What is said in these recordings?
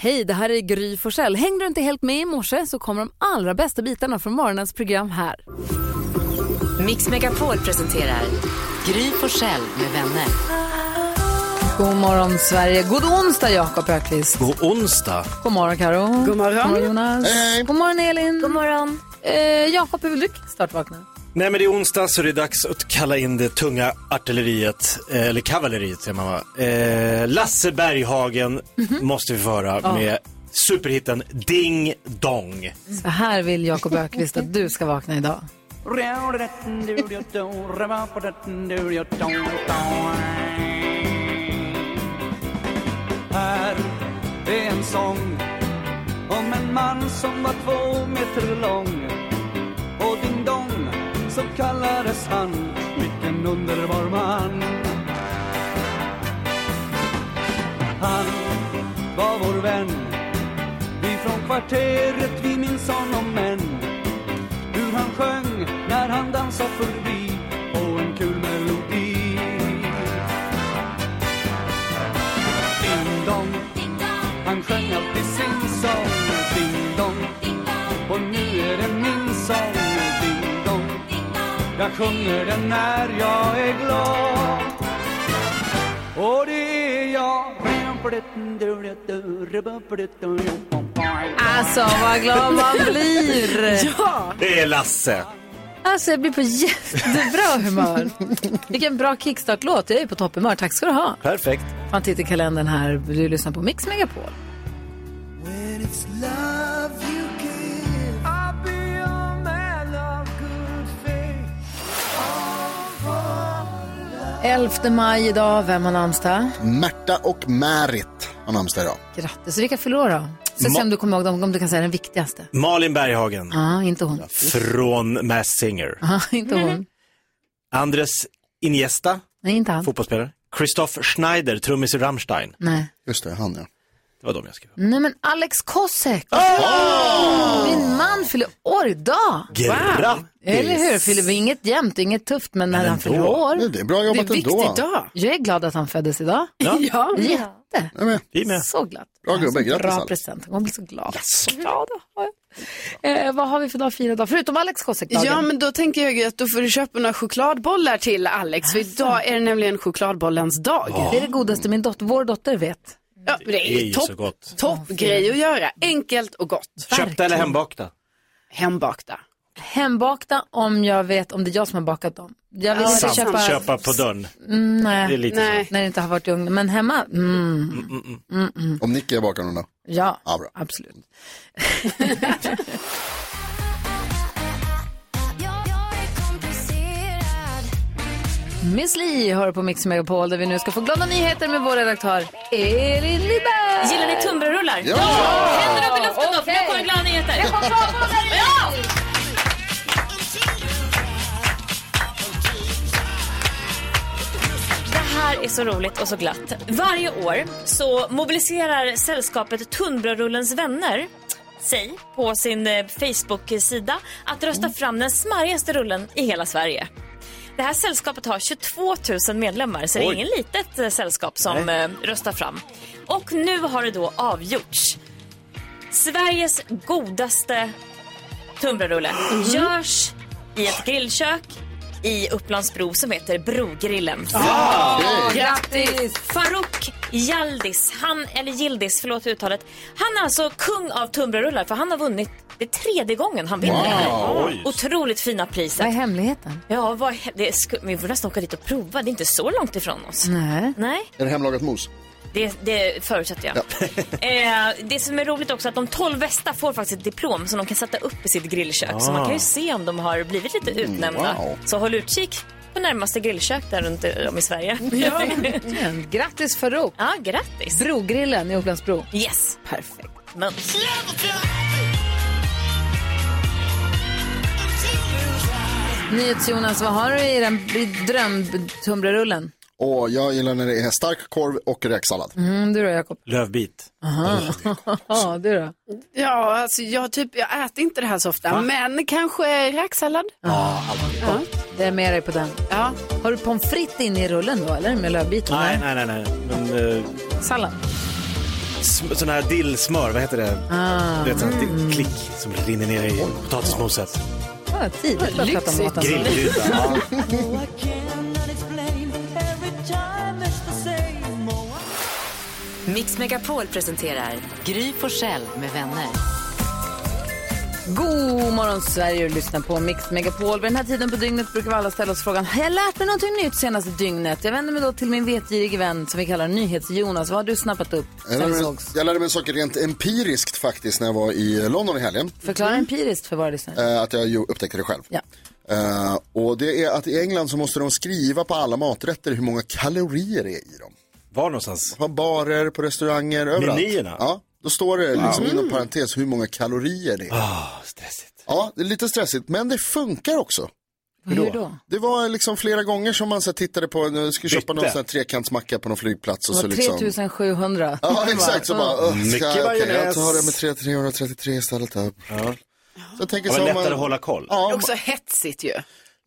Hej, det här är Gry Forssell. Hängde du inte helt med i morse så kommer de allra bästa bitarna från morgonens program här. Mix Megapol presenterar Gry Forssell med vänner. God morgon Sverige. God onsdag Jakob Ökvist. God onsdag. God morgon Karo. God morgon. Jonas. Hej. God morgon Elin. God morgon. Eh, Jakob, hur vill du startvakna? Nej men det är onsdag så det är dags att kalla in det tunga artilleriet, eh, eller kavalleriet säger man va? Eh, Lasse Berghagen måste vi föra Mhm. Ja. med superhitten Ding Dong. Så här vill Jakob Ökvist att du ska vakna idag. Här är en sång om en man som var två meter lång och Ding Dong så kallades han Vilken underbar man Han var vår vän Vi från kvarteret vi minns honom än Hur han sjöng när han dansade förbi och en kul melodi Ding dong, han sjöng alltid sin sång Ding dong, och nu är det min sång Ding dong, jag sjunger den när jag är glad Och det är jag Alltså vad glad man blir. Ja! Det är Lasse. Alltså jag blir på jättebra humör. Vilken bra kickstart-låt. Jag är på topphumör. Tack ska du ha. Perfekt. Man tittar i kalendern här. Du lyssnar på Mix Megapol. Elfte maj idag. Vem har namnsdag? Märta och Märit har namnsdag idag. Grattis. Vilka förlorar då? Så se Ma- om du kommer ihåg dem, om du kan säga den viktigaste. Malin Berghagen Ja, inte hon. från Mass Singer. Ja, inte Mm-hmm. Mhm. hon. Andres Iniesta, Nej, inte han. fotbollsspelare. Christoph Schneider, trummis i Rammstein. Nej. Just det, han ja. Det var de jag skrev. Nej, men Alex Kosek. Min man fyller år idag. Grattis! Eller hur? Fyller vi inget jämnt, inget tufft, men när han ändå. fyller år. Det- Det är bra Det är jobbat en viktig ändå. dag. Jag är glad att han föddes idag. Mm. Ja, Ja. Jätte. Jag med. vi med. Så glad. Bra Det här är gubbe, så grattis, Alltså, Bra Alex. present. Jag kommer bli så glad. Så glad har jag. eh, vad har vi för dag fyra dagar? Förutom Alex Kosek-dagen. Ja, men då tänker jag ju att då får du köpa några chokladbollar till Alex. För Alltså. idag är det nämligen chokladbollens dag. Det är det godaste min dot- vår dotter vet. Ja, men det Det är är ju ju så topp, gott. toppgrej att göra. Enkelt och gott. Köpta eller hembakta? Hembakta. Hembakta om jag vet om det är jag som har bakat dem. Jag vill inte det är sant. köpa... Köpa på dörren. Mm, Det är nej. lite Nej. När det inte har varit i ugnen. Men hemma, mm, Om Nicky är bakar någon dag. ja, Ja, bra. absolut. Miss Li hör på Mix Megapol där vi nu ska få glada nyheter med vår redaktör Elin Lyberg. Gillar ni tunnbrödsrullar? Ja! Händerna upp i luften då, för nu Okej. kommer glada nyheter. Det här är så roligt och så glatt. Varje år så mobiliserar sällskapet Tunnbrödsrullens vänner sig på sin eh, Facebook-sida att rösta fram den smarrigaste rullen i hela Sverige. Det här sällskapet har 22 000 medlemmar så det är Oj. ingen litet eh, sällskap som eh, röstar fram. Och nu har det då avgjorts. Sveriges godaste tunnbrödsrulle Mhm. görs i ett grillkök i Upplandsbro som heter Brogrillen. Okej. Grattis! Farouk Yildiz, han, eller Gildis, förlåt uttalet. Han är alltså kung av tunnbrödsrullar för han har vunnit det är tredje gången han vinner det Wow. här. Oj. Otroligt fina priset. Vad är hemligheten? Ja, vad, he- det sku, vi får nästan åka dit och prova. Det är inte så långt ifrån oss. Nej. Nej, Är det hemlagat mos? det, det förutsätter jag. eh, det som är roligt också är att de 12 bästa får faktiskt ett diplom som de kan sätta upp i sitt grillkök. Så man kan ju se om de har blivit lite utnämnda. wow. Så håll utkik på närmaste grillkök där runt om i Sverige. Men Mm. Grattis Farouk! ja, grattis. Brogrillen i Upplandsbro. Yes. Perfekt. Mums. NyhetsJonas, vad har du i den i drömtumbrarullen? Och jag gillar när det är stark korv och räksallad. Mm, du då Jakob? Lövbit. Ja, du då? Ja, alltså jag, typ, jag äter inte det här så ofta. Men kanske räksallad. Det är med dig på den. Ja. Har du pommes frites inne i rullen då eller? Med lövbitar? Nej, nej, nej. nej. Men, eh, Sallad? sm- sån här dillsmör, vad heter det? Ah. Det är sån här dill- klick som rinner ner i potatismoset. Ah, tidigt för att prata om maten. Grillkrydda. ja. Mix Megapol presenterar Gry Forssell med vänner. God morgon Sverige och lyssna på Mix Megapol. Vid den här tiden på dygnet brukar vi alla ställa oss frågan, har jag lärt mig någonting nytt senaste dygnet? Jag vänder mig då till min vetgirige vän som vi kallar NyhetsJonas. Vad har du snappat upp Jag sen lärde, vi mig, sågs? jag lärde mig saker rent empiriskt faktiskt när jag var i London i helgen. Förklara empiriskt för våra lyssnare. Eh, att jag ju upptäckte det själv. Ja. Eh, och det är att i England så måste de skriva på alla maträtter hur många kalorier det är i dem. Var någonstans? På barer, på restauranger, överallt. Menyerna? Ja, då står det liksom Mm. inom parentes hur många kalorier det är. Ah, stressigt. Ja, det är lite stressigt, men det funkar också. Hur då? Det var liksom flera gånger som man så här tittade på, jag skulle köpa någon Bytte. sån här trekantsmacka på någon flygplats och Det så var liksom. 3700. Ja, exakt. Så bara, öh, Mycket ska, okay, jag majonnäs. tar det med 3, 333 istället. Här. Så jag tänker Det så var lättare här, man- att hålla koll. Det är Ja, också hetsigt ju.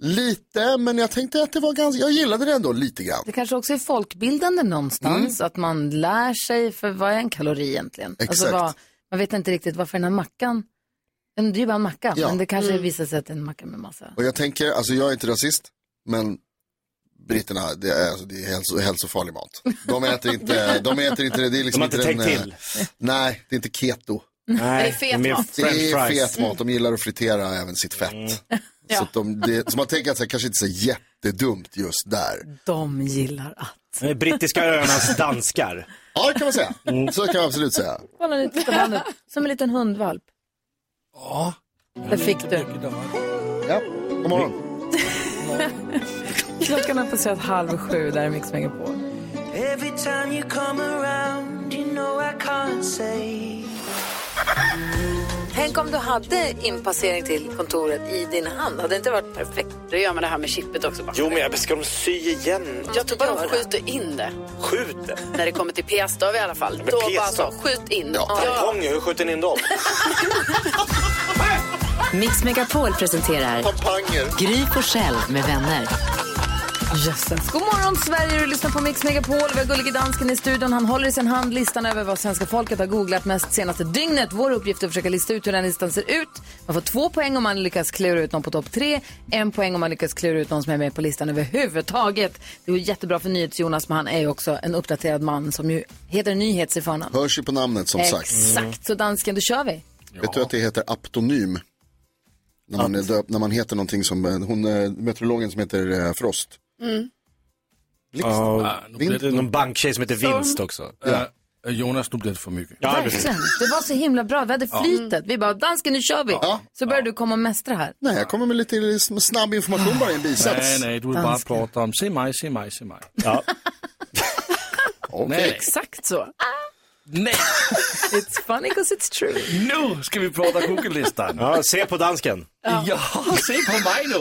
lite, men jag tänkte att det var ganska, jag gillade det ändå lite grann. Det kanske också är folkbildande någonstans, Mm. att man lär sig, för vad är en kalori egentligen? Alltså Exakt. vad, man vet inte riktigt varför den här mackan, det är ju bara en macka, Ja. Mm. men det kanske visar sig att det är en macka med massa. Och jag tänker, alltså jag är inte rasist, men britterna, det är, alltså, det är hälso, hälsofarlig mat. De äter inte, de äter inte det, det är liksom De har inte den, tänkt eh, till. Nej, det är inte keto. Nej, det fet mer mat? Det french är fries. Mm. fet mat, de gillar att fritera även sitt fett. Så, att de, det, så man tänker att det kanske inte så jättedumt just där. De gillar att. Eh, Brittiska öarnas danskar. Mm. Ja, det kan man säga. Så kan jag absolut säga. Kolla nu, titta på han nu. Som en liten hundvalp. Ja. Där fick du. Ja, god morgon. Klockan har passerat halv sju, där är Mix Megapol. Every time you come around, you know I can't say. Tänk om du hade inpassering till kontoret i din hand. Hade det inte varit perfekt? Då gör man det här med chippet också. Bara. jag ska de sy igen? Jag tror bara de skjuter in det. Skjut det! När det kommer till p-stav i alla fall. Då bara så, p-stav. skjut in. Tamponger, hur skjuter ni in dem? Mix Megapol presenterar Panger. Gry Forssell med vänner. Jösses. God morgon Sverige, du lyssnar på Mix Megapol. Vi har gullige dansken i studion. Han håller i sin hand listan över vad svenska folket har googlat mest senaste dygnet. Vår uppgift är att försöka lista ut hur den listan ser ut. Man får två poäng om man lyckas klura ut någon på topp tre. En poäng om man lyckas klura ut någon som är med på listan överhuvudtaget. Det är ju jättebra för NyhetsJonas, men han är ju också en uppdaterad man som ju heter Nyhets i förnamn. Hörs ju på namnet som sagt. Exakt, så dansken, då kör vi. Vet du att det heter aptonym? När man, är döpt, när man heter någonting som, eh, hon, eh, meteorologen som heter eh, Frost. Mm. Ja, Ah, det är någon banktjej som heter Vinst också. Eh, Jonas, nu blev det för mycket. Ja, precis. Verkligen. Det var så himla bra, vi hade flytet. Vi bara, dansken, nu kör vi. Så börjar du komma och mästra här. Nej, jag kommer med lite liksom, snabb information bara i en bisats. Nej, nej, du vill bara prata om se mig, se mig, se mig. Ja. Nej, Exakt så. nej, It's funny because it's true. nu ska vi prata Google-listan. ja, se på dansken. Ja, se på mig nu.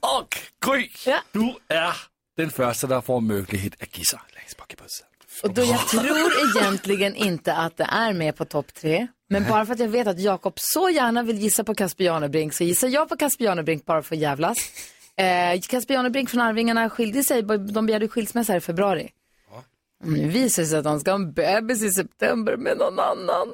Och Gry, du är den första som får möjlighet att gissa. Längst bak i bussen. Och då jag tror egentligen inte att det är med på topp tre. Men bara för att jag vet att Jakob så gärna vill gissa på Casper Janebrink så gissar jag på Casper Janebrink bara för att jävlas. Eh, Casper Janebrink från Arvingarna skilde sig, de begärde skilsmässa här i februari. Och Nu visar det sig att han ska ha en bebis i september med någon annan.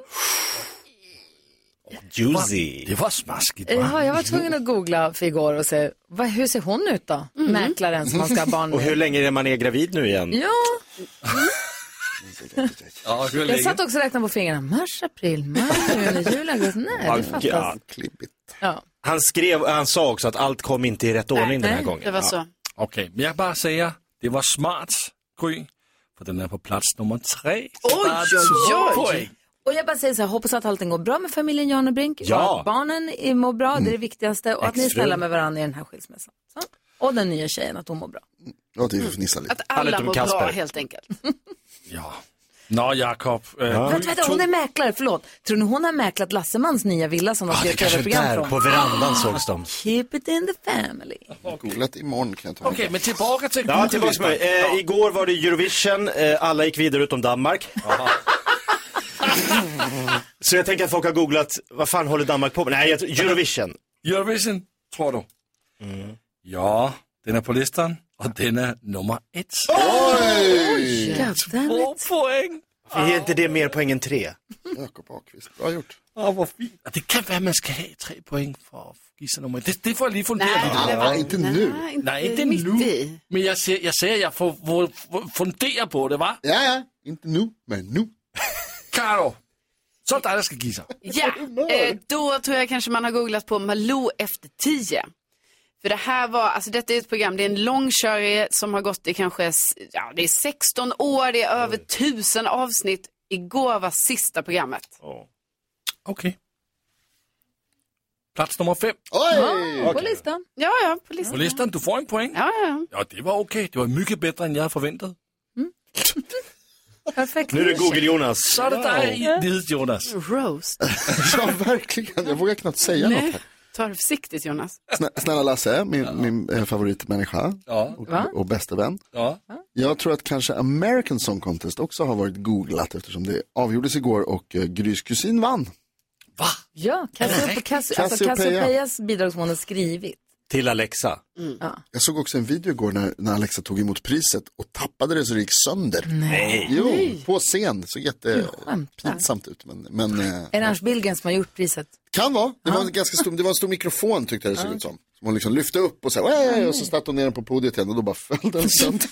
Juicy. Det var smaskigt va? Jaha, Eh, jag var tvungen att googla för igår och se, vad, hur ser hon ut då? Mäklaren som man ska ha barn Mm. Och hur med. länge är man är gravid nu igen? Ja, Ja, hur jag satt också och räknade på fingrarna. Mars, april, maj, juni, juli, augusti. Nej, det fattas. Ja. Klibbigt. Ja. Han skrev, han sa också att allt kom inte i rätt ordning den här nej, gången. Det var Ja. så. Okej, men jag bara säger, det var smart Gry. För den är på plats nummer tre. Oj, oj, oj. Poäng. Och jag bara säger så här, hoppas att allting går bra med familjen Janebrink. och Ja. Mm. Att barnen är- mår bra, det är det viktigaste. Och att ni är snälla med varandra i den här skilsmässan. Så. Och den nya tjejen, att hon mår bra. Ja, det är ju fnissa lite. Att alla utom mår bra Kasper. helt enkelt. Ja. Nå, Jakob. eh, Gry Vänta, vänta, tog- hon är mäklare, förlåt. Tror ni hon har mäklat Lassemans nya villa som de Ja, skrev det kanske är tv-program där, från? på verandan sågs de. Keep it in the family. Googlat imorgon kan jag ta. Okej, men tillbaka till Ja, tillbaka till mig. Google-listan. Eh, igår var det Eurovision, eh, alla gick vidare utom Danmark. Så jag tänker att folk har googlat, vad fan håller Danmark på med? Nej, jag tror- Eurovision. Eurovision, tror du? Mm. Ja, den är på listan och den är nummer ett. Oj! God damn it. poäng! Är inte det mer poäng än tre? Jakob Ahlqvist, bra gjort. Ja, vad fint. Det kan vara att man ska ha tre poäng för att gissa nummer ett. Det, det får jag lige fundera Nej, över. det Ja, inte nu. Nej, inte, Nej, inte mitt nu. i. Men jag säger, jag, säger, jag får, får, får fundera på det, va? Ja, ja, inte nu, men nu. Karo, så är det dig, der ska gissa. Ja, eh, då tror jag kanske man har googlat på Malou efter tio. För det här var, alltså detta är ett program, det är en lång serie som har gått i kanske, s- ja det är 16 år, det är över tusen avsnitt. Igår var sista programmet. Okej. Plats nummer fem Oj! På listan. Ja, ja, på listan. på listan. Du får en poäng. Ja, ja. Ja, det var okej. Det var mycket bättre än jag förväntat. Perfekt. Nu är det Google-Jonas. Så är det dig, Lidet Jonas. Roast. Ja, verkligen. Jag vågar knappt säga något. Nej, ta det försiktigt Jonas. Snä, snälla Lasse, min, min eh, favoritmänniska Ja, och, och bästa vän. ja. Jag tror att kanske American Song Contest också har varit googlat eftersom det avgjordes igår och eh, Grys kusin vann. Ja, Cassiope- Cass- alltså Cassiopeia. Cassiopeias bidragsmål har skrivit. Till Alexa. Jag såg också en video igår när, när Alexa tog emot priset och tappade det så det gick sönder. Nej. Jo, på scen. Det såg skämtar. jättepinsamt ut. Men, men eh, Är det Ernst Billgren som har gjort priset? kan vara. Det var, en ganska stor, det var en stor mikrofon tyckte jag det såg ut som. Som hon liksom lyfte upp och så, här, "Oj", och så satte hon ner den på podiet igen och då bara föll den sönder.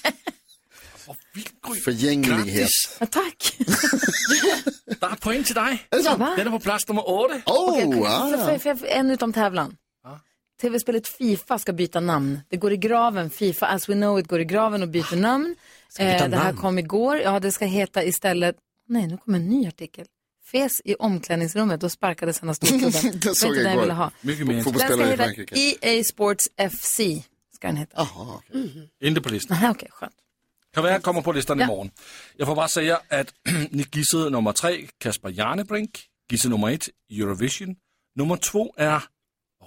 Förgänglighet. Grattis. Ja, tack. Det är poäng till dig. Är det sant? Den är på plats nummer åtta. Oh, För- ah. för- för- för- En utom tävlan. Tv-spelet Fifa ska byta namn. Det går i graven. Fifa as we know it går i graven och byter namn. Eh, det här kom igår. Ja, det ska heta istället... Nej, nu kommer en ny artikel. Fes i omklädningsrummet och sparkades han av storklubben. Det såg inte jag den igår. ville ha. Mycket mer. Den ska Fotbollsspelare i heta Frankrike. EA Sports FC. Ska den heta. Jaha, okej. Inte på listan. Nej, okej, skönt. Kan være, jeg kommer på listerne i morgen. Jeg får bare sige, at ni gissede nummer 3, Kasper Jarnebrink. Gissede nummer 1, Eurovision. Nummer 2 er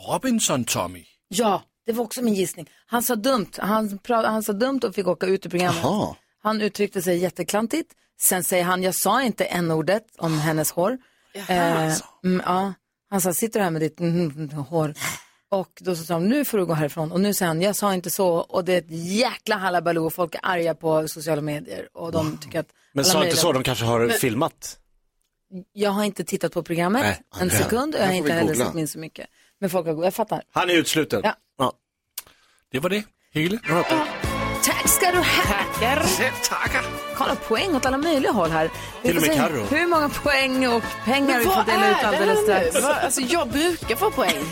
Robinson Tommy. Ja, det var också min gissning. Han sa dumt. Han, pra- han sa dumt och fick åka ut ur programmet. Jaha. Han uttryckte sig jätteklantigt. Sen säger han, jag sa inte n-ordet om hennes hår. Eh, mm, ja. Han sa, sitter du här med ditt mm, mm, hår? Och då sa han, nu får du gå härifrån. Och nu säger han, jag sa inte så. Och det är ett jäkla hallabaloo och folk är arga på sociala medier. Och de tycker att Men alla sa inte möjliga- så, de kanske har filmat. Jag har inte tittat på programmet Nej, en sekund och jag Här har får inte vi heller googla. sett min så mycket. Men folk har, jag fattar. Han är utsluten. Ja. Det var det hele. Tack ska du ha. Selv takker. Kolla poäng åt alla möjliga håll här. Vi Till och får med se Karo. Hur många poäng och pengar vi får dela ut alldeles strax. Vad- Alltså jag brukar få poäng.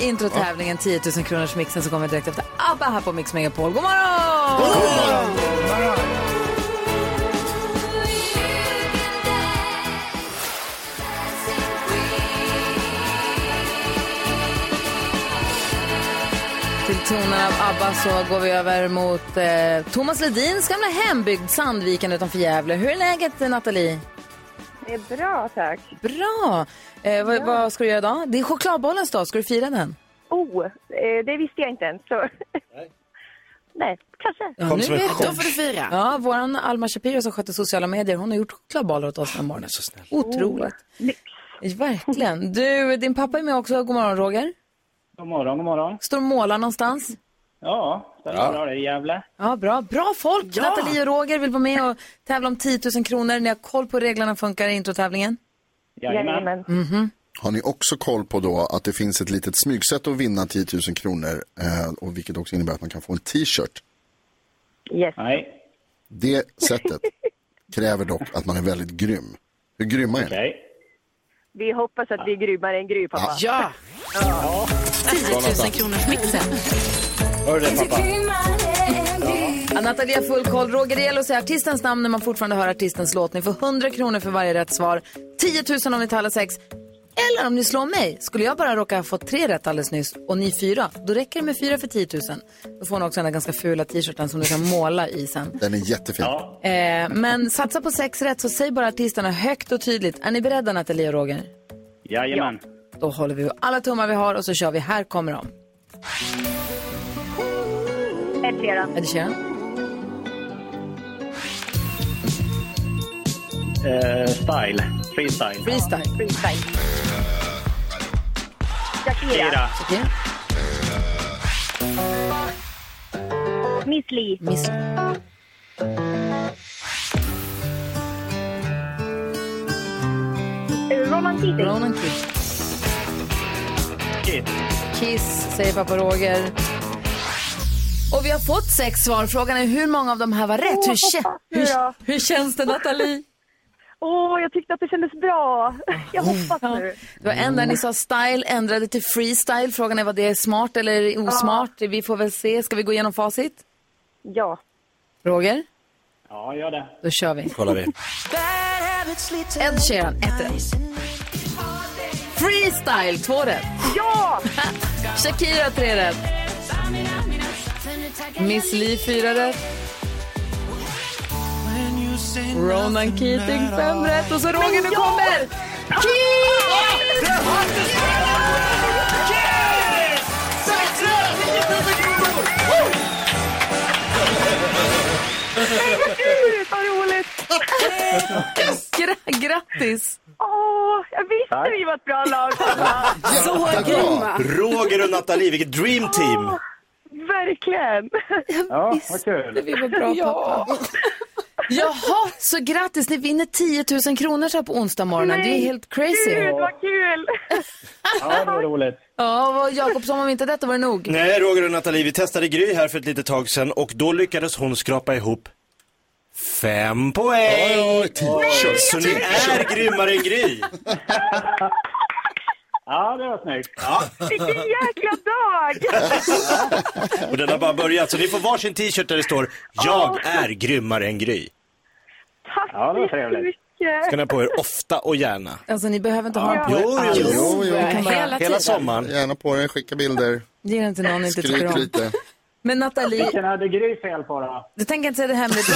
I introtävlingen 10 000 kronors mixen så kommer direkt efter ABBA här på Mix Megapol. God morgon! Till tonerna av ABBA så går vi över mot eh, Thomas Ledins gamla hembygd Sandviken utanför Gävle. Hur är läget eh, Nathalie? Det är bra, tack. Bra! Eh, vad, vad ska du göra idag? Det är chokladbollens dag, ska du fira den? Oh, eh, det visste jag inte ens. Så. Nej. Nej, kanske. Ja, Kom nu som en vet chock. du. Då får du fira. Ja, våran Alma Shapiro som sköter sociala medier, hon har gjort chokladbollar åt oss den här morgonen. Otroligt. Lyx. Verkligen. Du, din pappa är med också. God morgon, Roger. God morgon, god morgon. Står och målar någonstans. Ja, det är bra det i Gävle. Ja, bra. Bra folk! Nathalie och Roger vill vara med och tävla om 10 000 kronor. Ni har koll på hur reglerna funkar i introtävlingen. Jajamän. Har ni också koll på då att det finns ett litet smygsätt att vinna 10 000 kronor eh, och vilket också innebär att man kan få en t-shirt. Yes. Nej, Det sättet kräver dock att man är väldigt grym. Hur grymma är ni? okej. Vi hoppas att vi är grymmare än Gry, pappa. Ja, 10 000 kronors mixen. Hör du det pappa? Ja, Nathalie har full koll. Roger, det gäller att säga artistens namn när man fortfarande hör artistens låt. Ni får 100 kronor för varje rätt svar. 10 000 om ni tar alla sex. Eller om ni slår mig. Skulle jag bara råka ha fått tre rätt alldeles nyss och ni fyra, då räcker det med fyra för 10 000. Då får ni också den där ganska fula t-shirten som du kan måla i sen. Den är jättefin. Eh, men satsa på sex rätt så säg bara artisterna högt och tydligt. Är ni beredda Nathalie och Roger? Jajamän. Då håller vi alla tummar vi har och så kör vi. Här kommer de. Ed Sheeran. Ed Sheeran. Eh, style. Freestyle. Freestyle. Freestyle. Shakira. Freestyle. Shakira. Miss Li. Miss... Ronan Keating. Ronan Keating. Kiss, säger pappa Roger. Och vi har fått sex svar. Frågan är hur många av de här var rätt? Åh, hur, kä- hur hur, då? hur känns det, Nathalie? Åh, jag tyckte att det kändes bra. Jag hoppas nu. Det var en där ni sa style, ändrade till freestyle. Frågan är vad det är smart eller osmart. Vi får väl se. Ska vi gå igenom facit? Ja. Roger, Ja, gör det. då kör vi. Kollar vi. Ed Sheeran, ett rätt. Freestyle, två rätt. Ja! Shakira, tre rätt. Miss Li, fyra rätt. Ronan Keating, fem rätt. Och så Roger, nu kommer Kiss! Nej, vad kul! Vad roligt! Gra- Grattis! Åh, jag visste vi var ett bra lag. Så grymma! Roger och Nathalie, vilket dream team! Verkligen. Ja, vad kul. Vi var bra pappa. Jaha, så grattis. Ni vinner 10 000 kronor så här på onsdag morgonen. Det är helt crazy. Gud, vad kul! Ja, det var roligt. Ja, vad Jakob, som om inte detta var nog. Nej, Roger och Nathalie, vi testade Gry här för ett litet tag sedan och då lyckades hon skrapa ihop fem poäng. Så ni är grymmare än Gry. Ja, det var snyggt. Vilken jäkla dag! Och den har bara börjat, så ni får varsin t-shirt där det står “Jag är grymmare än Gry”. Tack Ja, det var så trevligt. Ska mycket. ni ha på er ofta och gärna. Alltså, ni behöver inte ha en Jo, på. jo, jo. Jo, jo. Ni kan bara Hela sommaren. Gärna på den, skicka bilder, Ge den till någon ni inte tycker skryt om. lite. Men Nathalie, Vilken hade Gry fel på då? du tänker inte säga det hemligt.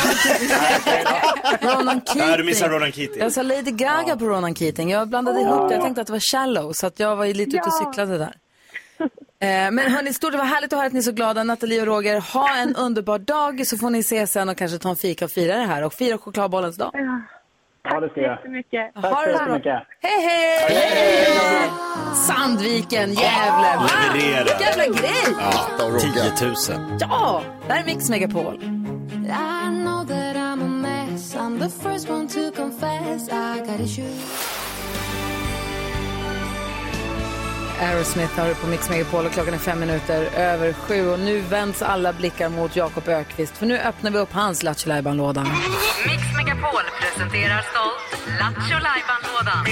Ronan Keating. Nej, du missar Ronan Keating. Jag sa Lady Gaga på Ronan Keating. Jag blandade ihop det. Jag tänkte att det var shallow, så att jag var ju lite ute och cyklade där. Eh, Men hörni, stort det var härligt att höra att ni är så glada. Nathalie och Roger, ha en underbar dag så får ni se sen och kanske ta en fika och fira det här. Och fira chokladbollens dag. Ja, det ska jag. Mycket. Tack så det så bra. jättemycket. Hej, hej! Sandviken, Gävle. Va? Leverera. Ah, Jävla grej! Matta och Rogga. 10 000. Ja! Det här är Mix Megapol. Aerosmith har du på Mix Megapol och klockan är fem minuter över sju och nu vänds alla blickar mot Jakob Ökvist för nu öppnar vi upp hans Lattjo lådan Mix Megapol presenterar stolt Lattjo Lajban-lådan.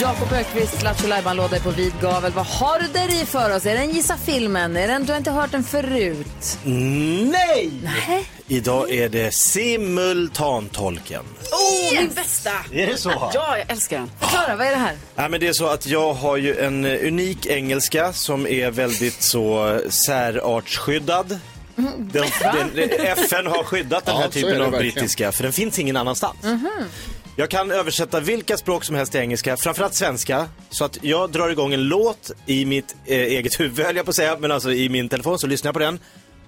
Jakob Ökvist Lattjo låda är på vid gavel. Vad har du där i för oss? Är den Gissa filmen? Är den Du har inte hört den förut? Nej! Idag är det simultantolken. Åh, min bästa! Är det så? Ja, jag älskar den. Förklara, vad är det här? Ja, men det är så att jag har ju en eh, unik engelska som är väldigt så eh, särartsskyddad. Den, den, FN har skyddat den Ja, här så är typen det verkligen. av Mhm. brittiska, för den finns ingen annanstans. Jag kan översätta vilka språk som helst till engelska, framförallt svenska. Så att jag drar igång en låt i mitt eh, eget huvud, höll jag på att säga, men alltså i min telefon så lyssnar jag på den.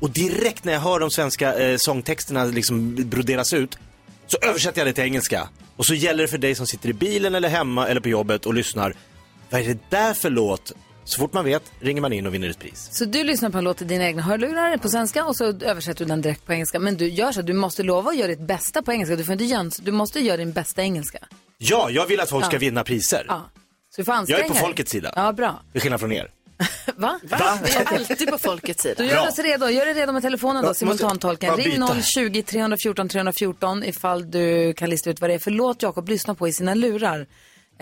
Och direkt när jag hör de svenska eh, sångtexterna liksom broderas ut så översätter jag det till engelska. Och så gäller det för dig som sitter i bilen eller hemma eller på jobbet och lyssnar. Vad är det där för låt? Så fort man vet ringer man in och vinner ett pris. Så du lyssnar på en låt i dina egna hörlurar på svenska och så översätter du den direkt på engelska. Men du gör så, att du måste lova att göra ditt bästa på engelska. Du får inte göra, du måste göra din bästa engelska. Ja, jag vill att folk Ja. ska vinna priser. Ja. Så du får anstränga Jag är på dig. folkets sida. Ja, bra. Till skillnad från er. Va? Vi är alltid på folkets sida. Då gör vi Bra. oss redo. Gör dig redo med telefonen då, Ja, måste- simultantolken. bara Ring byta. 020 314 314 ifall du kan lista ut vad det är för låt Jakob lyssnar på i sina lurar.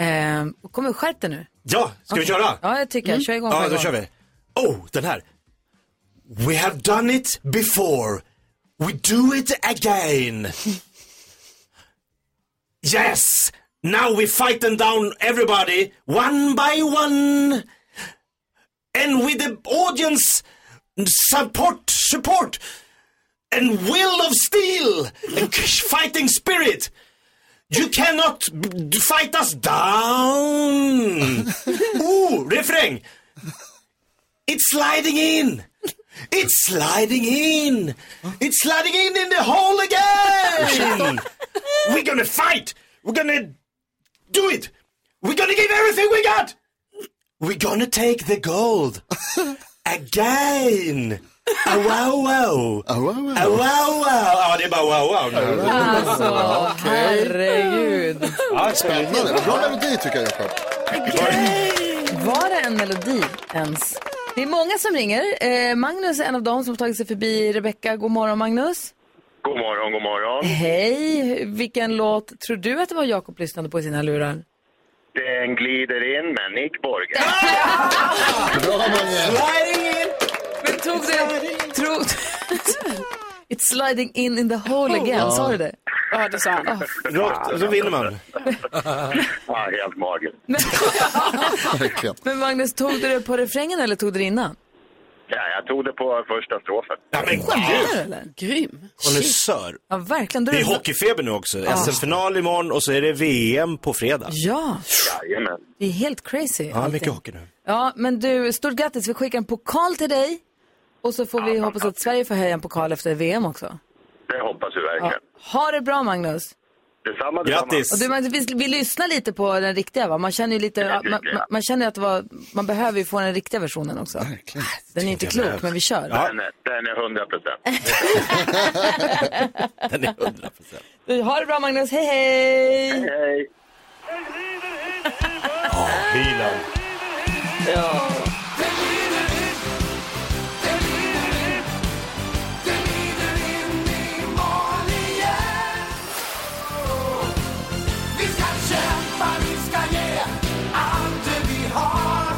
Ehm, och kom och skärp dig nu. Ja, ska vi köra? Mm. Ja, jag tycker jag. Kör igång. på Ja, en då gång. kör vi. Oh, den här. We have done it before. We do it again. Yes! Now we fight them down everybody, one by one. And with the audience support, support, and will of steel, and fighting spirit. You cannot b- fight us down. Ooh, refräng. It's sliding in. It's sliding in. It's sliding in in the hole again. We're gonna fight. We're gonna do it. We're gonna give everything we got. We're gonna take the gold. Again! Ah, wow, wow. Ah, wow, wow. Ah, wow, wow. Ja, det är bara wow, wow nu. Alltså, herregud. Ja, Spännande. Bra melodi tycker jag, Jakob. Var det en melodi ens? Det är många som ringer. Eh, Magnus är en av dem som har tagit sig förbi Rebecka. God morgon Magnus. God morgon, god morgon. Hej. Vilken låt tror du att det var Jakob lyssnade på i sina lurar? Den glider in med Nick Borgen. Sliding in! Men tog det... Tro... It's sliding in in the hole again. Ja. Sa du det? Ah. Ja, det sa han. Rakt, så vinner man. Ja, helt magiskt. Verkligen. Men Magnus, tog du det på refrängen eller tog du det innan? Ja, jag tog det på första strofen. Ja, men Skämtar du eller? Grym. Konnässör. Ja, verkligen. Då Det är det- hockeyfeber nu också. Ja. SM-final imorgon och så är det VM på fredag. Ja. Jajamän. Det är helt crazy. Ja, allting. mycket hockey nu. Ja, men du, stort grattis. Vi skickar en pokal till dig. Och så får vi hoppas att Sverige får höja en pokal efter VM också. Det hoppas vi verkligen. Ha det bra, Magnus. Detsamma, detsamma. Och du, men vi, vi lyssnar lite på den riktiga, va? Man känner ju lite, Det tycker man, jag. man, man känner ju att det var, man behöver ju få den riktiga versionen också. Ah, Den är inte klok, men vi kör. Den, är- den är 100 procent. den är 100 Du, Ha det bra, Magnus. Hej, hej! Hej, hej. Bilen. Ja. Vi ska kämpa, vi ska ge allt det vi har.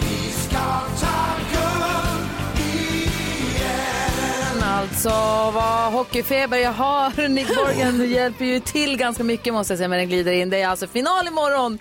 Vi ska ta guld igen. Men Alltså, vad hockeyfeber jag har. Nick Borgen hjälper ju till ganska mycket måste jag säga, men den glider in. Det är alltså final imorgon.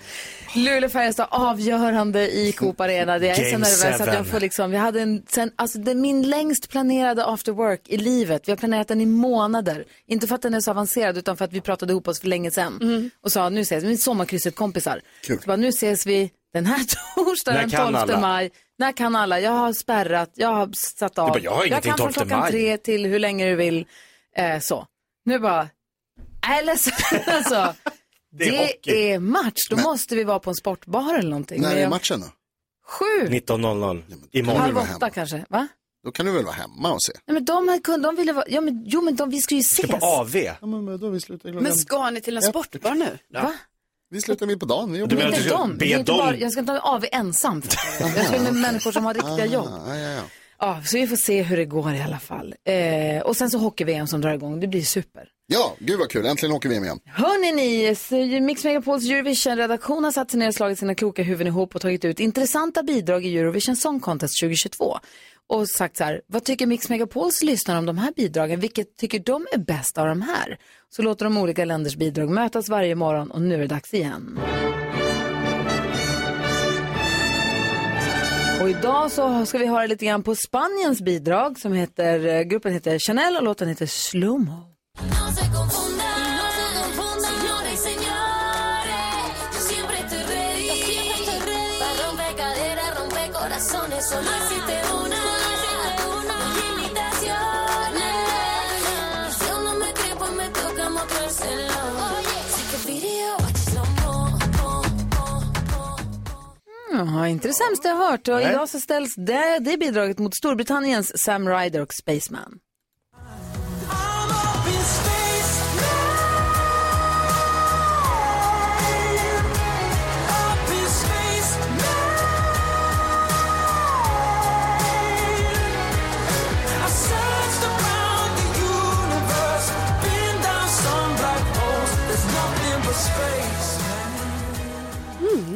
Luleå-Färjestad avgörande i Coop Arena. Det jag är Game så nervös att seven. jag får liksom, vi hade en, sen, alltså det är min längst planerade after work i livet. Vi har planerat den i månader. Inte för att den är så avancerad utan för att vi pratade ihop oss för länge sedan. Och sa, nu ses vi, sommarkrysset kompisar. Mm. Kul. Så bara, nu ses vi den här torsdagen När den kan 12 alla? maj. När kan alla? Jag har spärrat, jag har satt av. Du bara, jag har ingenting kan 12 från klockan maj. tre till hur länge du vill. Eh, så. Nu bara, jag är ledsen alltså. Det är Det hockey. är match, då måste vi vara på en sportbar eller någonting. När Men är jag- matchen då? Sju, 19.00. halv åtta kanske. Va? Då kan du väl vara hemma och se? Nej, men de, här kunde, de ville vara, ja, men, jo men de, vi ska ju ses. Ja, men då vi slutar klockan... Men ska ni till en sportbar nu? Va? Vi slutar mitt på dagen. Vi Du jobbar. menar inte dem. Det är inte bara, jag ska inte ha av ensam. Jag ska med människor som har riktiga jobb. Ah, ja, ja. Ja, så vi får se hur det går i alla fall. Eh, och sen så hockey-VM som drar igång, det blir super. ja, gud vad kul. Äntligen åker vi hem igen. Hörni ni, s- Mix Megapols Eurovision-redaktion har satt sig ner och slagit sina kloka huvuden ihop och tagit ut intressanta bidrag i Eurovision Song Contest 2022. Och sagt så här, vad tycker Mix Megapols lyssnare om de här bidragen? Vilket tycker de är bäst av de här? Så låter de olika länders bidrag mötas varje morgon och nu är det dags igen. Och idag så ska vi höra lite grann på Spaniens bidrag som heter, eh, gruppen heter Chanel och låten heter Slumho. pues Ja, inte det sämsta jag hört. Och Nej. idag så ställs det, det bidraget mot Storbritanniens Sam Ryder och Spaceman.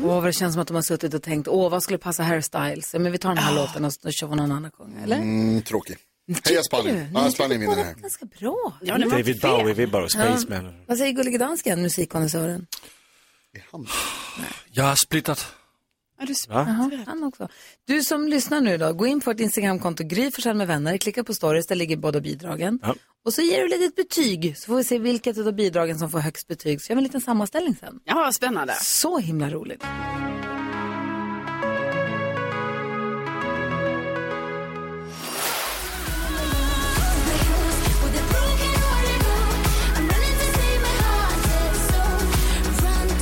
Åh, vad det känns som att de har suttit och tänkt, åh, vad skulle passa Harry Styles? Ja, Men vi tar den här låten och så kör vi någon annan gång, eller? Mm, tråkig. Heja Spanien. Ja, Spanien vinner här. Ganska bra. Ja, det var David fel. Bowie-vibbar och Spaceman. Ja. Vad säger Gullige Dansken, musikkonnässören? Jag har splittrat. Ja, du Va? Jaha, han också. Du som lyssnar nu då, gå in på vårt Instagramkonto, Gry Forssell med vänner, klicka på stories, där ligger båda bidragen. Ja. Och så ger du ett litet betyg, så får vi se vilket av bidragen som får högst betyg. Så gör vi en liten sammanställning sen. Ja, spännande. Så himla roligt.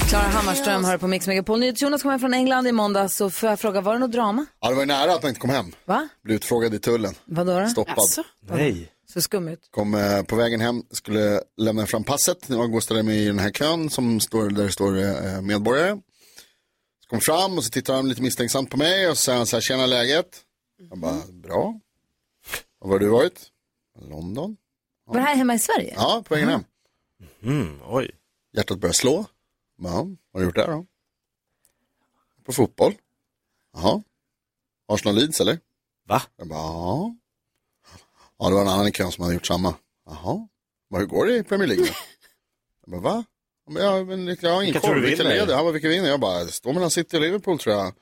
Klara Hammarström hör på Mix Megapol. NyhetsJonas kom hem från England i måndags så får jag fråga, var det något drama? Ja, det var ju nära att man inte kom hem. Va? Blev utfrågad i tullen. Vadå då? Stoppad. Jaså? Nej. Så skum ut. Kom eh, på vägen hem, skulle lämna fram passet. Jag går och ställer mig i den här kön som står, där det står eh, medborgare. Så kom fram och så tittar han lite misstänksamt på mig och så säger han så här, tjena läget? Jag bara, bra. Och var har du varit? London. Var det här hemma i Sverige? Ja, på vägen hem. Mm, oj. Hjärtat börjar slå. Ja, vad har du gjort där då? På fotboll. Jaha. Arsenal Leeds eller? Va? Jag bara, ja. Ja, det var en annan i kön som hade gjort samma. Jaha. Bara, hur går det i Premier League då? Jag bara, va? Ja, Men jag, men, jag har ingen Vilka tror koll. du Vilka vinner? leder? Han bara, vilka vinner? Jag bara, det står mellan City och Liverpool tror jag.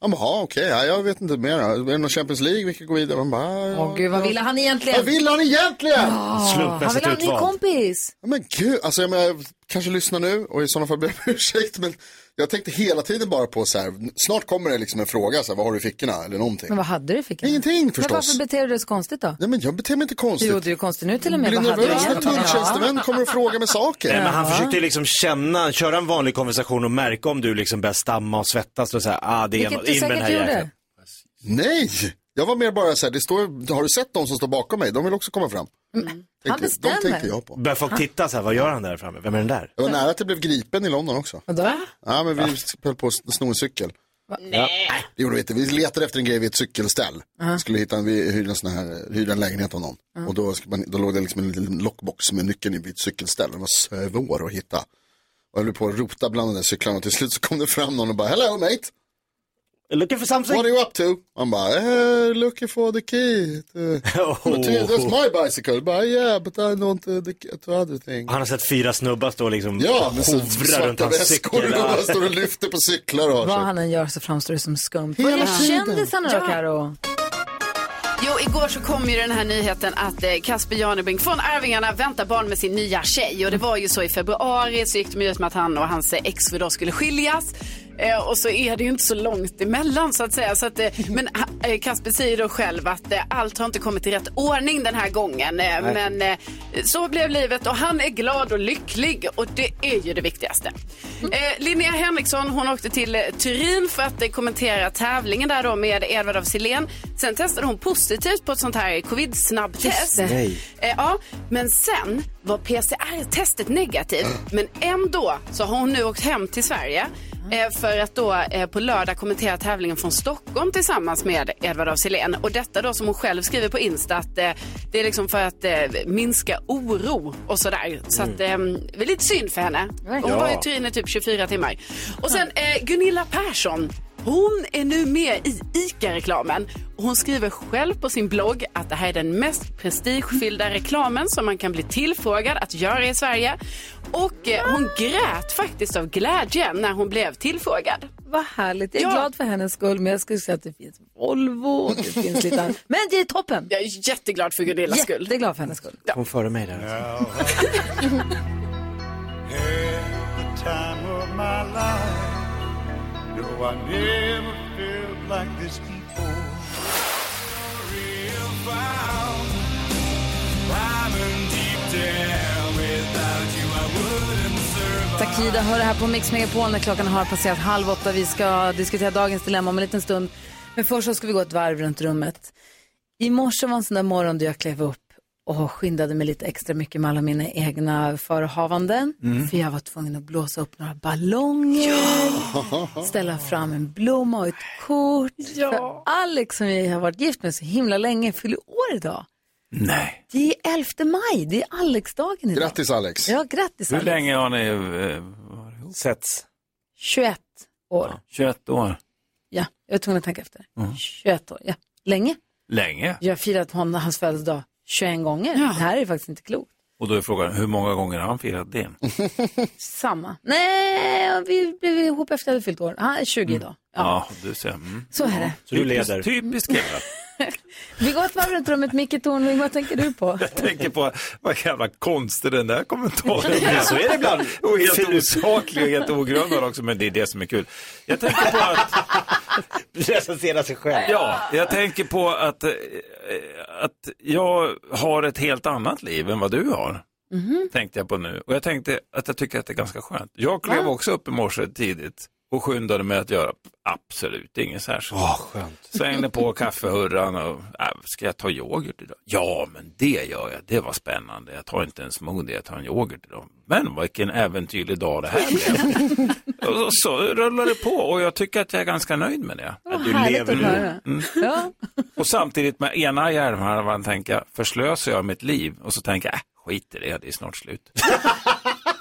Han bara, ja, okej, ja, jag vet inte mer. Är det någon Champions League? Vilka går vidare? Han bara, ja, Åh gud, vad ville han egentligen? Vad ville han egentligen? Ja, han ville ha en ny kompis. Ja, Men gud, alltså jag menar, kanske lyssna nu och i sådana fall ber jag om ursäkt. Men jag tänkte hela tiden bara på så här, snart kommer det liksom en fråga, så här, vad har du i fickorna eller någonting. Men vad hade du i fickan? Ingenting Men varför förstås. beter du dig så konstigt då? Nej men jag beter mig inte konstigt. Du gjorde ju konstigt nu till och med. Blir Vad hade du nervös när egentligen? tulltjänstemän Ja. kommer och frågar med saker. Nej, Men han Ja. försökte ju liksom känna, köra en vanlig konversation och märka om du liksom börjar stamma och svettas och säga ah det är Vilket något, du in med den här säkert gjorde. jäkeln. Nej, jag var mer bara så här, det står, har du sett de som står bakom mig? De vill också komma fram. Mm. Han Tänkte- Mm. de bestämmer. tänkte jag på. Börjar folk titta så här, vad gör han där framme? Vem är den där? Jag var nära att jag blev gripen i London också. Vadå? Ja, men vi höll på att sno en cykel. Nej. Det gjorde vi inte. Vi letade efter en grej vid ett cykelställ. Aha. Skulle hitta en, vi hyrde en, sån här, hyrde en lägenhet av någon. Ja. Och då, skulle man, då låg det liksom en liten lockbox med nyckeln i vid ett cykelställ. Den var svår att hitta. Och jag höll på att rota bland de där cyklarna och till slut så kom det fram någon och bara Hello mate! Looking for something? What are you up to? Han bara eh, Looking for the key. To... Oh. to- That's my bicycle. Bara, yeah but I don't uh, the key to other thing. Och Han har sett fyra snubbar stå och liksom Ja, med så hovra runt svarta hans väskor cykel. och bara står och lyfter på cyklar och har Vad sig. han än gör så framstår det som skumt. Vad Hela gäller tiden. kändisarna då, Ja. Karo? Jo, igår så kom ju den här nyheten att eh, Kasper Janebrink från Arvingarna väntar barn med sin nya tjej. Och det var ju så i februari så gick de ju ut med att han och hans eh, exfru då skulle skiljas. Eh, och så är det ju inte så långt emellan så att säga. Så att, eh, men eh, Kasper säger då själv att eh, allt har inte kommit i rätt ordning den här gången. Eh, Nej. men eh, så blev livet och han är glad och lycklig och det är ju det viktigaste. Mm. Eh, Linnea Henriksson hon åkte till eh, Turin för att eh, kommentera tävlingen där då med Edvard af Sillén. Sen testade hon positivt på ett sånt här Just covid-snabbtest. det. Nej. Eh, ja, men sen var PCR-testet negativt. Men ändå så har hon nu åkt hem till Sverige eh, för att då eh, på lördag kommentera tävlingen från Stockholm tillsammans med Edvard af Sillén. Och detta då som hon själv skriver på Insta att eh, det är liksom för att eh, minska oro och sådär. Så att eh, det är lite synd för henne. Och hon var i Ja. Turin i typ 24 timmar. Och sen eh, Gunilla Persson. Hon är nu med i ICA-reklamen. Och Hon skriver själv på sin blogg att det här är den mest prestigefyllda reklamen som man kan bli tillfrågad att göra i Sverige. Och eh, hon grät faktiskt av glädje när hon blev tillfrågad. Vad härligt. Jag är glad för hennes skull, men jag skulle säga att det finns Volvo och det finns lite annat. Men det är toppen. Jag är jätteglad för Gunillas skull. Jätteglad för hennes skull. Kom före mig där. alltså. time of my life. No, I never felt like this before. Real found. I'm in deep down. Without you, I wouldn't survive. Takida hör det här på Mix Megapol när klockan har passerat halv åtta. Vi ska diskutera dagens dilemma om en liten stund. Men först så ska vi gå ett varv runt rummet. I morse var en sån där morgon då jag klev upp och skyndade mig lite extra mycket med alla mina egna förehavanden. Mm. För jag var tvungen att blåsa upp några ballonger, ställa fram en blomma och ett kort. För Alex som jag har varit gift med så himla länge fyller år idag. Nej. Det är 11 maj, det är Alex-dagen idag. Grattis, Alex. Ja, grattis Hur Alex. länge har ni eh, setts? 21 år. 21 år? Ja, jag var tvungen att tänka efter. Mm. 21 år, ja. Länge. Länge? Jag har firat hon, hans födelsedag 21 gånger. Det här är faktiskt inte klokt. Och då är frågan, hur många gånger har han firat det? Samma. Nej, vi blev ihop efter att jag hade fyllt år. Han är 20 Mm. idag. Ja, du ser. Mm. Så är det. Så du leder. Typiskt killar. Vi går ett varv runt rummet. Micke Tornving, vad tänker du på? Jag tänker på vad jävla konstig den där kommentaren Ja, så är det ibland. Och helt osaklig och helt ogrundad också, men det är det som är kul. Jag tänker på att... Recensera sig själv. Ja, jag tänker på att, eh, att jag har ett helt annat liv än vad du har. Mm-hmm. tänkte jag på nu. Och jag tänkte att jag tycker att det är ganska skönt. Jag klev också upp i morse tidigt och skyndade mig att göra absolut inget särskilt. Åh, skönt. Slängde på kaffehurran och, äh, ska jag ta yoghurt idag? Ja, men det gör jag. Det var spännande. Jag tar inte en smoothie, jag tar en yoghurt idag. Men vilken äventyrlig dag det här blev. och så rullar det på och jag tycker att jag är ganska nöjd med det. Vad du härligt lever att nu. Mm. höra. Ja. Och samtidigt med ena hjärnhalvan tänker jag, förslösar jag mitt liv? Och så tänker jag, äh, skit i det, det är snart slut.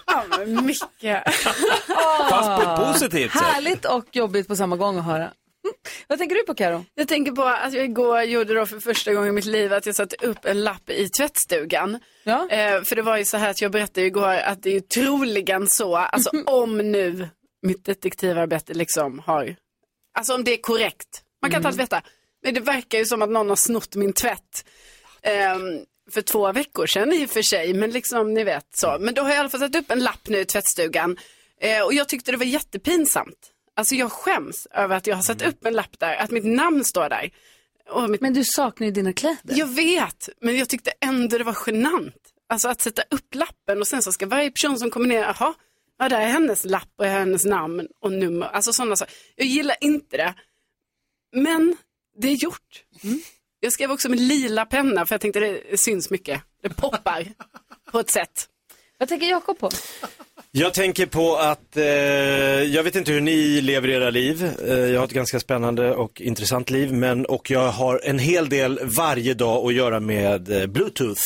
Ja, men mycket. Fast på ett positivt sätt. Härligt och jobbigt på samma gång att höra. Vad tänker du på Karo? Jag tänker på att jag igår gjorde då för första gången i mitt liv att jag satte upp en lapp i tvättstugan. Eh, för det var ju så här att jag berättade ju igår att det är ju troligen så, alltså om nu mitt detektivarbete liksom har, alltså om det är korrekt, man kan inte alltid veta, men det verkar ju som att någon har snott min tvätt. Ehm, för två veckor sedan i och för sig, men liksom ni vet så. Men då har jag i alla fall satt upp en lapp nu i tvättstugan. Eh, och jag tyckte det var jättepinsamt. Alltså jag skäms över att jag har satt upp en lapp där, att mitt namn står där. Men du saknar ju dina kläder. Jag vet, men jag tyckte ändå det var genant. Alltså att sätta upp lappen och sen så ska varje person som kommer ner, jaha, ja där är hennes lapp och hennes namn och nummer. Alltså sådana saker. Jag gillar inte det, men det är gjort. Mm. Jag skrev också med lila penna för jag tänkte det syns mycket. Det poppar på ett sätt. Vad tänker Jakob på? Jag tänker på att, eh, jag vet inte hur ni lever era liv. Eh, jag har ett ganska spännande och intressant liv, men och jag har en hel del varje dag att göra med eh, bluetooth.